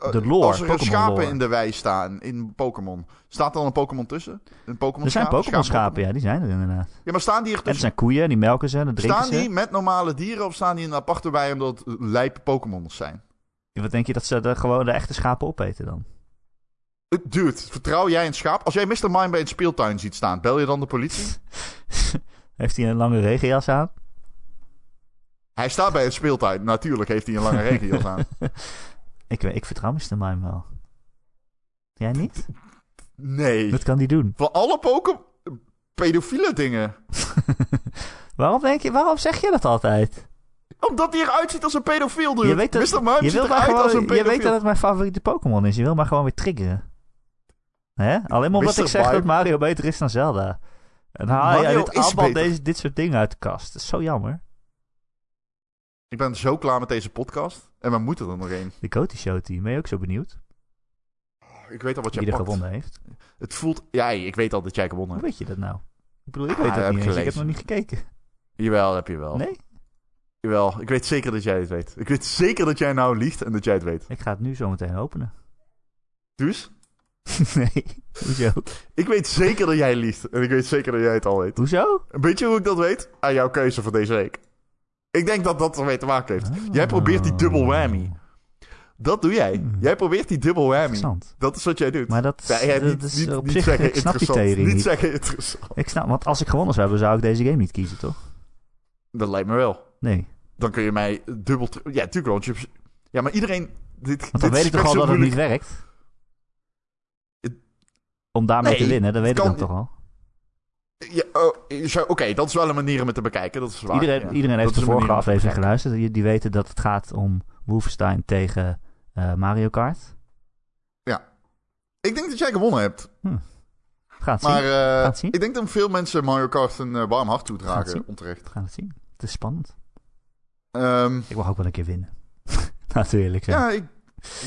Speaker 2: eh, eh,
Speaker 1: De lore,
Speaker 2: als er
Speaker 1: Pokémon
Speaker 2: schapen
Speaker 1: lore.
Speaker 2: in de wei staan in Pokémon, staat er dan een Pokémon tussen? Een Pokémon
Speaker 1: er zijn
Speaker 2: schaap, een
Speaker 1: Pokémon
Speaker 2: schaap-
Speaker 1: schapen, ja, die zijn er inderdaad.
Speaker 2: Ja, maar staan die
Speaker 1: En
Speaker 2: er
Speaker 1: er
Speaker 2: tussen?
Speaker 1: zijn koeien, die melken ze en dan drinken
Speaker 2: Staan
Speaker 1: ze.
Speaker 2: die met normale dieren of staan die in een aparte wei omdat het lijpe Pokémon zijn?
Speaker 1: Ja, Wat denk je dat ze de, gewoon de echte schapen opeten dan? (laughs)
Speaker 2: Eh, Dude, vertrouw jij een schaap? Als jij Mr. Mime bij een speeltuin ziet staan, bel je dan de politie?
Speaker 1: Heeft hij een lange regenjas aan?
Speaker 2: Hij staat bij een speeltuin. Natuurlijk heeft hij een lange regenjas
Speaker 1: (laughs)
Speaker 2: aan.
Speaker 1: Ik, weet- ik vertrouw Mr. Mime wel. Jij niet?
Speaker 2: Nee.
Speaker 1: Dat kan die doen.
Speaker 2: Van alle Pokémon... Pedofiele dingen.
Speaker 1: waarom, denk je, waarom zeg je dat altijd?
Speaker 2: Omdat hij eruit ziet als een pedofiel, dude.
Speaker 1: Je weet dat-
Speaker 2: Mr. Mime
Speaker 1: Je,
Speaker 2: ziet
Speaker 1: wilt maar
Speaker 2: eruit als een
Speaker 1: gewoon, je
Speaker 2: pedofiel.
Speaker 1: weet dat het mijn favoriete Pokémon is. Je wil maar gewoon weer triggeren. Hè? Alleen maar omdat
Speaker 2: Mr.
Speaker 1: ik zeg
Speaker 2: Mime.
Speaker 1: dat Mario beter is dan Zelda. En dan haal je
Speaker 2: Mario
Speaker 1: dit,
Speaker 2: is
Speaker 1: allemaal
Speaker 2: beter.
Speaker 1: deze, dit soort dingen uit de kast. Dat is zo jammer.
Speaker 2: Ik ben zo klaar met deze podcast. En we moeten er nog één.
Speaker 1: De Goaty Show Team, ben je ook zo benieuwd?
Speaker 2: Ik weet al wat jij
Speaker 1: Wie er
Speaker 2: pakt.
Speaker 1: gewonnen heeft.
Speaker 2: Het voelt... Ja, ik weet al dat jij gewonnen
Speaker 1: Hoe
Speaker 2: hebt.
Speaker 1: weet je dat nou? Ik bedoel, ik
Speaker 2: Ah,
Speaker 1: weet
Speaker 2: dat
Speaker 1: dat
Speaker 2: heb
Speaker 1: niet
Speaker 2: ik
Speaker 1: eens. Ik heb nog
Speaker 2: gelezen.
Speaker 1: niet gekeken.
Speaker 2: Jawel, heb je wel.
Speaker 1: Nee?
Speaker 2: Jawel, ik weet zeker dat jij het weet. Ik weet zeker dat jij nou liegt en dat jij het weet.
Speaker 1: Ik ga het nu zo meteen
Speaker 2: (laughs)
Speaker 1: openen.
Speaker 2: Dus?
Speaker 1: nee. Hoezo?
Speaker 2: Ik weet zeker dat jij liegt. En ik weet zeker dat jij het al weet.
Speaker 1: Hoezo?
Speaker 2: Weet je hoe ik dat weet? Aan jouw keuze voor deze week. Ik denk dat dat ermee te maken heeft. Jij probeert die dubbel whammy. Dat doe jij.
Speaker 1: Hmm.
Speaker 2: Jij probeert die dubbel whammy.
Speaker 1: Interessant.
Speaker 2: Dat is wat jij doet.
Speaker 1: Maar dat,
Speaker 2: Ja, ja,
Speaker 1: dat
Speaker 2: niet,
Speaker 1: is
Speaker 2: niet,
Speaker 1: op
Speaker 2: niet
Speaker 1: zich,
Speaker 2: zeggen
Speaker 1: (laughs) ik snap die
Speaker 2: interessant.
Speaker 1: theorie
Speaker 2: niet
Speaker 1: niet.
Speaker 2: zeggen interessant.
Speaker 1: Ik snap, want als ik gewonnen zou hebben, zou ik deze game niet kiezen, toch?
Speaker 2: Dat lijkt me wel.
Speaker 1: Nee.
Speaker 2: Dan kun je mij dubbel... ter- Ja, tuurlijk, want je... Ja, maar iedereen... Dit,
Speaker 1: Want dan
Speaker 2: dit
Speaker 1: weet ik toch
Speaker 2: gesprek
Speaker 1: al dat
Speaker 2: is
Speaker 1: het niet
Speaker 2: moeilijk.
Speaker 1: werkt?
Speaker 2: Het-
Speaker 1: Om daarmee
Speaker 2: Nee,
Speaker 1: te winnen, dat weet ik
Speaker 2: kan
Speaker 1: dan toch al.
Speaker 2: Ja, oh, zo- Oké, dat is wel een manier om het te bekijken. Dat is waar.
Speaker 1: iedereen,
Speaker 2: ja.
Speaker 1: iedereen heeft
Speaker 2: Dat
Speaker 1: de
Speaker 2: is een
Speaker 1: vorige
Speaker 2: manier om te
Speaker 1: aflevering
Speaker 2: bekijken.
Speaker 1: geluisterd. Die, die weten dat het gaat om Wolfenstein tegen eh, Mario Kart.
Speaker 2: Ik denk dat jij gewonnen hebt.
Speaker 1: Gaat zien.
Speaker 2: Maar eh,
Speaker 1: Gaat zien.
Speaker 2: ik denk dat veel mensen Mario Kart een eh, warm hart toedragen,
Speaker 1: zien.
Speaker 2: onterecht.
Speaker 1: We gaan het zien. Het is spannend.
Speaker 2: Ehm,
Speaker 1: Ik mag ook wel een keer winnen. (laughs) Natuurlijk.
Speaker 2: ja. ik,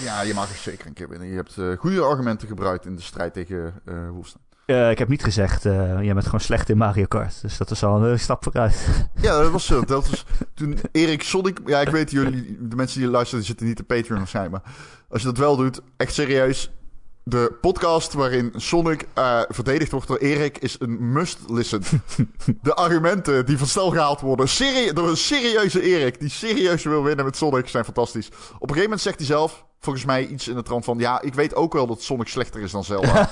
Speaker 2: ja, je mag er zeker een keer winnen. Je hebt eh, goede argumenten gebruikt in de strijd tegen eh Wolfenstein.
Speaker 1: ik heb niet gezegd, eh, jij bent gewoon slecht in Mario Kart. Dus dat is al een hele stap vooruit.
Speaker 2: Ja, dat was zo. (laughs) Dat was
Speaker 1: (laughs)
Speaker 2: toen Erik Sonic... Ja, ik weet jullie, de mensen die luisteren, die zitten niet op Patreon waarschijnlijk. Maar als je dat wel doet, echt serieus... De podcast waarin Sonic eh, verdedigd wordt door Erik is een must-listen. De argumenten die van stel gehaald worden serie- door een serieuze Erik... die serieus wil winnen met Sonic, zijn fantastisch. Op een gegeven moment zegt hij zelf, volgens mij iets in de trant van... ja, ik weet ook wel dat Sonic slechter is dan
Speaker 1: (laughs)
Speaker 2: Zelda.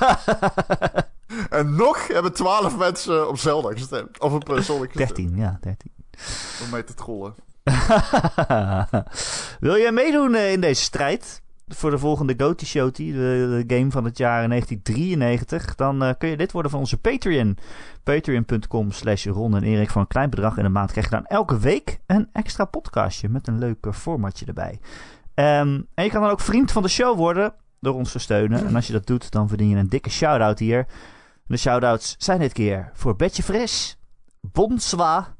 Speaker 2: en nog hebben twaalf mensen op Zelda gestemd. Of op
Speaker 1: (laughs)
Speaker 2: eh, Sonic gestemd.
Speaker 1: 13, ja, 13.
Speaker 2: Om mij te trollen.
Speaker 1: Wil jij meedoen eh, in deze strijd? Voor de volgende Goaty Showty, de, de game van het jaar 1993. Dan eh, kun je lid worden van onze Patreon. Patreon.com slash Ron en Erik. Voor een klein bedrag in de maand krijg je dan elke week een extra podcastje. Met een leuk eh, formatje erbij. Ehm, en je kan dan ook vriend van de show worden. Door ons te steunen. En als je dat doet, dan verdien je een dikke shout-out hier. En de shout-outs zijn dit keer voor Betje Fris. Bonswa.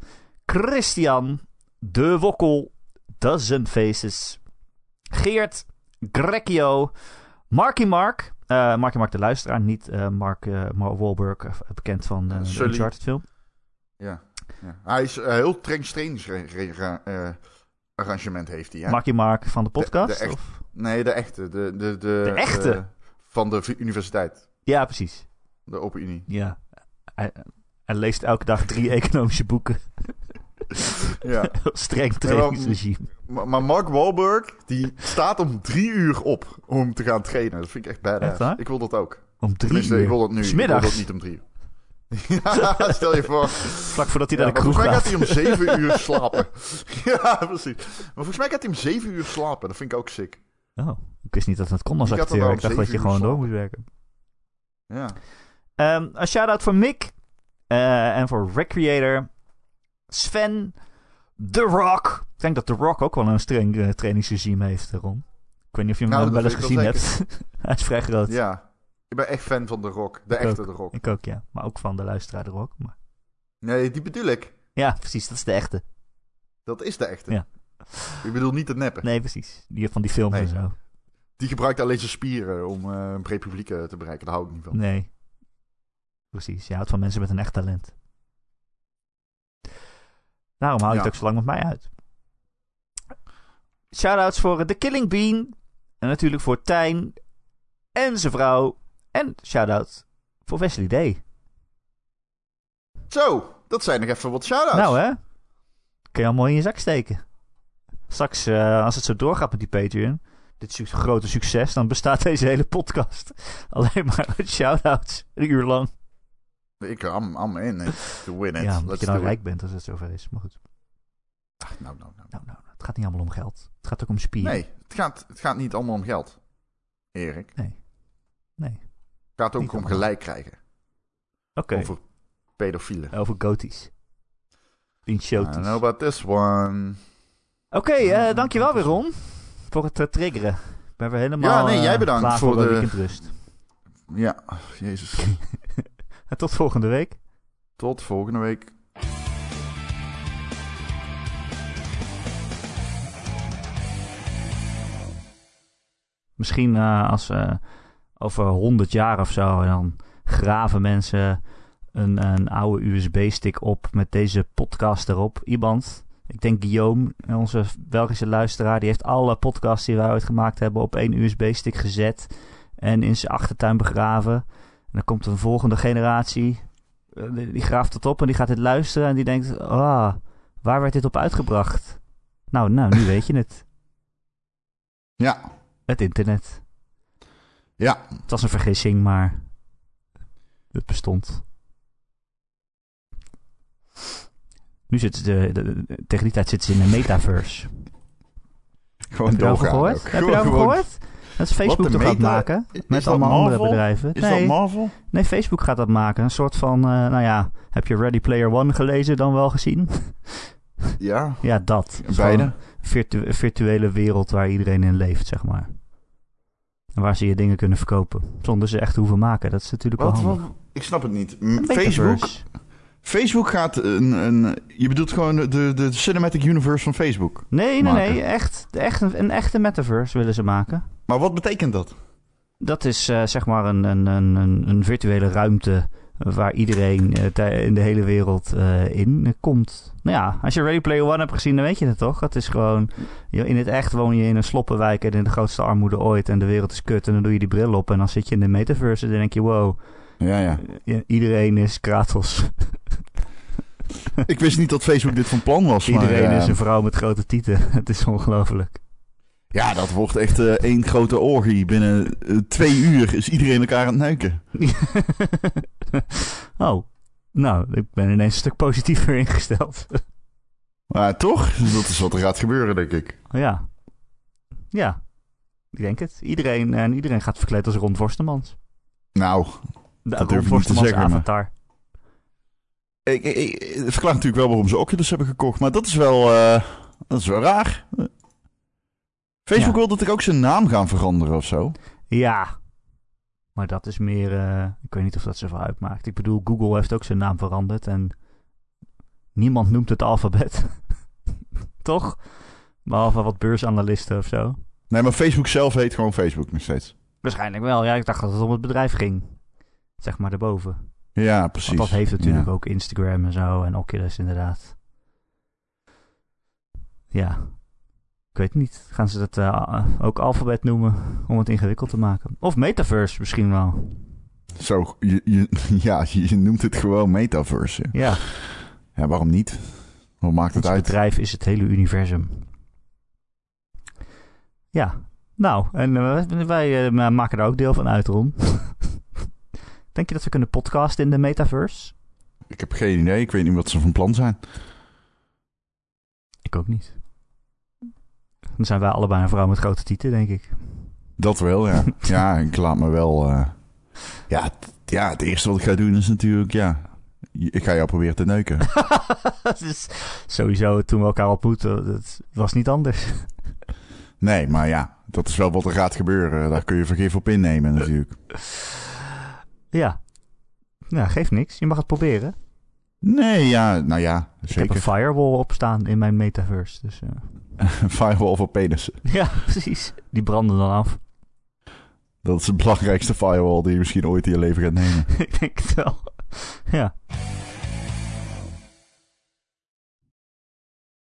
Speaker 1: Christian. De Wokkel. Dozen Faces. Geert, Grecchio, Marky Mark, Eh Marky Mark de Luisteraar, niet eh, Mark, eh Mark Wahlberg, eh, bekend van eh, de
Speaker 2: Sully.
Speaker 1: Uncharted film.
Speaker 2: Ja. ja. Hij is eh, heel streng strange re- re- ra- eh, arrangement heeft hij. Ja.
Speaker 1: Marky Mark van de podcast?
Speaker 2: de echt-
Speaker 1: of?
Speaker 2: Nee, de echte. De, de, de,
Speaker 1: De echte?
Speaker 2: eh, van de vi- universiteit.
Speaker 1: Ja, precies.
Speaker 2: De Open Unie.
Speaker 1: Ja. Hij, hij leest elke dag
Speaker 2: (laughs)
Speaker 1: drie economische boeken.
Speaker 2: Ja. (laughs)
Speaker 1: Streng
Speaker 2: wel,
Speaker 1: trainingsregime.
Speaker 2: maar, maar Mark Wahlberg, die staat om drie uur op om te gaan trainen. Dat vind ik echt
Speaker 1: Echt
Speaker 2: badass.
Speaker 1: waar?
Speaker 2: ik wil dat ook.
Speaker 1: Om drie
Speaker 2: Tenminste,
Speaker 1: uur.
Speaker 2: ik wil dat nu.
Speaker 1: Smiddags.
Speaker 2: Ik wil dat niet om drie uur. (laughs) Ja, stel je voor.
Speaker 1: Vlak voordat hij
Speaker 2: Ja,
Speaker 1: naar de
Speaker 2: maar
Speaker 1: kroeg
Speaker 2: volgens mij
Speaker 1: gaat.
Speaker 2: gaat hij om
Speaker 1: (laughs)
Speaker 2: zeven uur slapen. ja, precies. Maar volgens mij gaat hij om zeven uur slapen. Dat vind ik ook sick.
Speaker 1: Oh, ik wist niet dat dat kon als
Speaker 2: Die gaat dan
Speaker 1: acteur.
Speaker 2: wel
Speaker 1: Ik dacht
Speaker 2: om
Speaker 1: dat je
Speaker 2: zeven
Speaker 1: gewoon
Speaker 2: uur
Speaker 1: door moest werken.
Speaker 2: Ja.
Speaker 1: Ehm, een shout-out voor Mick. eh, en voor Recreator. Sven. The Rock. Ik denk dat The Rock ook wel een streng eh, trainingsregime heeft, eh, Ron. Ik weet niet of je hem
Speaker 2: Nou,
Speaker 1: eh, wel
Speaker 2: dat
Speaker 1: eens
Speaker 2: weet ik
Speaker 1: gezien
Speaker 2: wel
Speaker 1: hebt. (laughs) Hij is vrij groot.
Speaker 2: ja. Ik ben echt fan van de rock. De
Speaker 1: Ik
Speaker 2: echte de rock.
Speaker 1: Ik ook, ja. Maar ook van de luisteraar The Rock. Maar...
Speaker 2: Nee, die bedoel ik.
Speaker 1: Ja, precies. Dat is de echte.
Speaker 2: Dat is de echte.
Speaker 1: Ja.
Speaker 2: Ik bedoel niet de neppen.
Speaker 1: Nee, precies. Die van die film
Speaker 2: Nee.
Speaker 1: en zo.
Speaker 2: Die gebruikt alleen zijn spieren om eh, een breed publiek eh, te bereiken. Daar hou ik niet van.
Speaker 1: Nee. Precies. Je houdt van mensen met een echt talent. Daarom hou je het
Speaker 2: Ja.
Speaker 1: ook zo lang met mij uit. Shoutouts voor eh, The Killing Bean. En natuurlijk voor Tijn. En zijn vrouw. En shoutout voor Wesley Day.
Speaker 2: Zo, dat zijn nog even wat shout-outs.
Speaker 1: Nou hè. Kun je al mooi in je zak steken. Straks, eh, als het zo doorgaat met die Patreon. Dit su- grote succes. Dan bestaat deze hele podcast. (laughs) Alleen maar uit shoutouts. Een uur lang.
Speaker 2: Ik, I'm, I'm in it to win it.
Speaker 1: ja, omdat
Speaker 2: Let's
Speaker 1: je nou dan
Speaker 2: do it.
Speaker 1: rijk bent als het zover is. Maar goed.
Speaker 2: Ach, nou, nou, nou.
Speaker 1: Nou, nou, nou, het gaat niet allemaal om geld. Het gaat ook om spieren.
Speaker 2: Nee, het gaat, het gaat niet allemaal om geld, Erik.
Speaker 1: Nee. Nee.
Speaker 2: Het gaat ook
Speaker 1: Niet
Speaker 2: om
Speaker 1: allemaal.
Speaker 2: gelijk krijgen.
Speaker 1: Oké.
Speaker 2: Over pedofielen.
Speaker 1: Over goties.
Speaker 2: I
Speaker 1: Inchoties.
Speaker 2: don't know about this one.
Speaker 1: Oké,
Speaker 2: nou,
Speaker 1: eh, dankjewel weer Ron. Voor het eh, triggeren. Ik ben weer helemaal
Speaker 2: Ja, nee, jij
Speaker 1: eh,
Speaker 2: bedankt
Speaker 1: klaar voor,
Speaker 2: voor
Speaker 1: de...
Speaker 2: de-
Speaker 1: weekendrust.
Speaker 2: Ja, jezus.
Speaker 1: En tot volgende week.
Speaker 2: Tot volgende week.
Speaker 1: Misschien eh, als eh, over 100 jaar of zo. En dan graven mensen een, een oude USB-stick op met deze podcast erop. Iemand, ik denk Guillaume, onze Belgische luisteraar, die heeft alle podcasts die wij ooit gemaakt hebben op één USB-stick gezet. En in zijn achtertuin begraven. En dan komt een volgende generatie. eh, die- Die graaft dat op en die gaat dit luisteren. En die denkt: ah, waar werd dit op uitgebracht? Nou, nou, nu weet je het.
Speaker 2: Ja,
Speaker 1: Het internet.
Speaker 2: ja.
Speaker 1: Het was een vergissing, maar het bestond. Nu zitten ze, de, de- de- tegen die tijd zitten ze in de metaverse.
Speaker 2: Gewoon
Speaker 1: Heb je daarover
Speaker 2: doorgaan
Speaker 1: gehoord?
Speaker 2: ook.
Speaker 1: Heb je daarover
Speaker 2: Gewoon-
Speaker 1: gehoord? Dat is Facebook
Speaker 2: Wat, de
Speaker 1: toch aan het
Speaker 2: meta-
Speaker 1: maken?
Speaker 2: Is
Speaker 1: Met
Speaker 2: dat
Speaker 1: allemaal andere
Speaker 2: Marvel?
Speaker 1: bedrijven.
Speaker 2: Is
Speaker 1: nee,
Speaker 2: dat Marvel?
Speaker 1: nee, Facebook gaat dat maken. Een soort van, eh, nou ja, heb je Ready Player One gelezen dan wel gezien? (laughs)
Speaker 2: Ja,
Speaker 1: ja, dat. Dat is gewoon
Speaker 2: beide.
Speaker 1: een virtu- virtuele wereld waar iedereen in leeft, zeg maar. En waar ze je dingen kunnen verkopen. Zonder ze echt te hoeven maken. Dat is natuurlijk wel
Speaker 2: Wat,
Speaker 1: handig.
Speaker 2: wat? Ik snap het niet. M- Facebook,
Speaker 1: Metaverse.
Speaker 2: Facebook gaat een, een... Je bedoelt gewoon de, de Cinematic Universe van Facebook.
Speaker 1: Nee, nee, nee.
Speaker 2: maken.
Speaker 1: Echt, echt een, een echte metaverse willen ze maken.
Speaker 2: Maar wat betekent dat?
Speaker 1: Dat is eh, zeg maar een, een, een, een- een virtuele ruimte waar iedereen eh, tij- in de hele wereld eh, in eh, komt. Nou ja, als je Ready Player One hebt gezien, dan weet je het toch? Dat is gewoon, je- in het echt woon je in een sloppenwijk en in de grootste armoede ooit en de wereld is kut en dan doe je die bril op en dan zit je in de metaverse en dan denk je, wow,
Speaker 2: Ja, ja. (laughs)
Speaker 1: i- iedereen is Kratos.
Speaker 2: Ik wist niet dat Facebook dit van plan was. maar,
Speaker 1: iedereen
Speaker 2: eh,
Speaker 1: is een vrouw met grote tieten. (laughs) het is ongelooflijk.
Speaker 2: Ja, dat wordt echt eh, één grote orgie. Binnen eh, twee uur is iedereen elkaar aan het neuken.
Speaker 1: (laughs) oh, nou, ik ben ineens een stuk positiever ingesteld. (laughs)
Speaker 2: Maar toch, dat is wat er gaat gebeuren, denk ik.
Speaker 1: ja. Ja, ik denk het. Iedereen, en iedereen gaat verkleed als Ron Forstemans.
Speaker 2: Nou,
Speaker 1: De
Speaker 2: durf ik
Speaker 1: Ron
Speaker 2: niet te
Speaker 1: Forstemans
Speaker 2: zeggen, maar-
Speaker 1: avatar.
Speaker 2: ik, ik, ik- het verklaart natuurlijk wel waarom ze Oculus hebben gekocht. Maar dat is wel, eh, dat is wel raar. Facebook
Speaker 1: Ja.
Speaker 2: wil dat ik ook zijn naam gaan veranderen of zo.
Speaker 1: Ja. Maar dat is meer... eh, ik weet niet of dat zoveel uitmaakt. Ik bedoel, Google heeft ook zijn naam veranderd en... Niemand noemt het alfabet. (laughs) Toch? Behalve wat beursanalisten of zo.
Speaker 2: Nee, maar Facebook zelf heet gewoon Facebook nog steeds.
Speaker 1: Waarschijnlijk wel. Ja, ik dacht dat het om het bedrijf ging. Zeg maar daarboven.
Speaker 2: Ja, precies.
Speaker 1: Want dat heeft natuurlijk
Speaker 2: Ja.
Speaker 1: ook Instagram en zo en Oculus inderdaad. Ja. Ik weet niet. Gaan ze dat eh, ook alfabet noemen om het ingewikkeld te maken? Of metaverse misschien wel.
Speaker 2: Zo, je, (laughs) je- ja, je noemt het gewoon metaverse. ja.
Speaker 1: Ja,
Speaker 2: Ja, waarom niet? Wat maakt het
Speaker 1: het
Speaker 2: uit?
Speaker 1: bedrijf is het hele universum. Ja. Nou, en eh, wij eh, ma- maken er ook deel van uit, Ron. (laughs) Denk je dat we kunnen podcasten in de metaverse?
Speaker 2: Ik heb geen idee. Ik weet niet wat ze van plan zijn.
Speaker 1: Ik ook niet. Dan zijn wij allebei een vrouw met grote tieten, denk ik.
Speaker 2: Dat wel,
Speaker 1: (laughs)
Speaker 2: ja. ja, ik laat me wel... eh, Ja, het- ja, het eerste wat ik ga doen is natuurlijk, ja... je- Ik ga jou proberen te neuken.
Speaker 1: (laughs) dat is Dus sowieso toen we elkaar ontmoetten, dat was niet anders.
Speaker 2: Nee, maar ja, dat is wel wat er gaat gebeuren. Daar kun je vergif op innemen natuurlijk.
Speaker 1: Ja. Ja, geeft niks. Je mag het proberen.
Speaker 2: Nee, ja, nou ja,
Speaker 1: Ik heb
Speaker 2: zeker.
Speaker 1: een firewall opstaan in mijn metaverse. Dus, eh. (laughs)
Speaker 2: (laughs) Firewall voor penissen.
Speaker 1: Ja, precies. Die branden dan af. (laughs)
Speaker 2: Dat is de belangrijkste firewall die je misschien ooit in je leven gaat nemen.
Speaker 1: Ik denk het wel. Ja.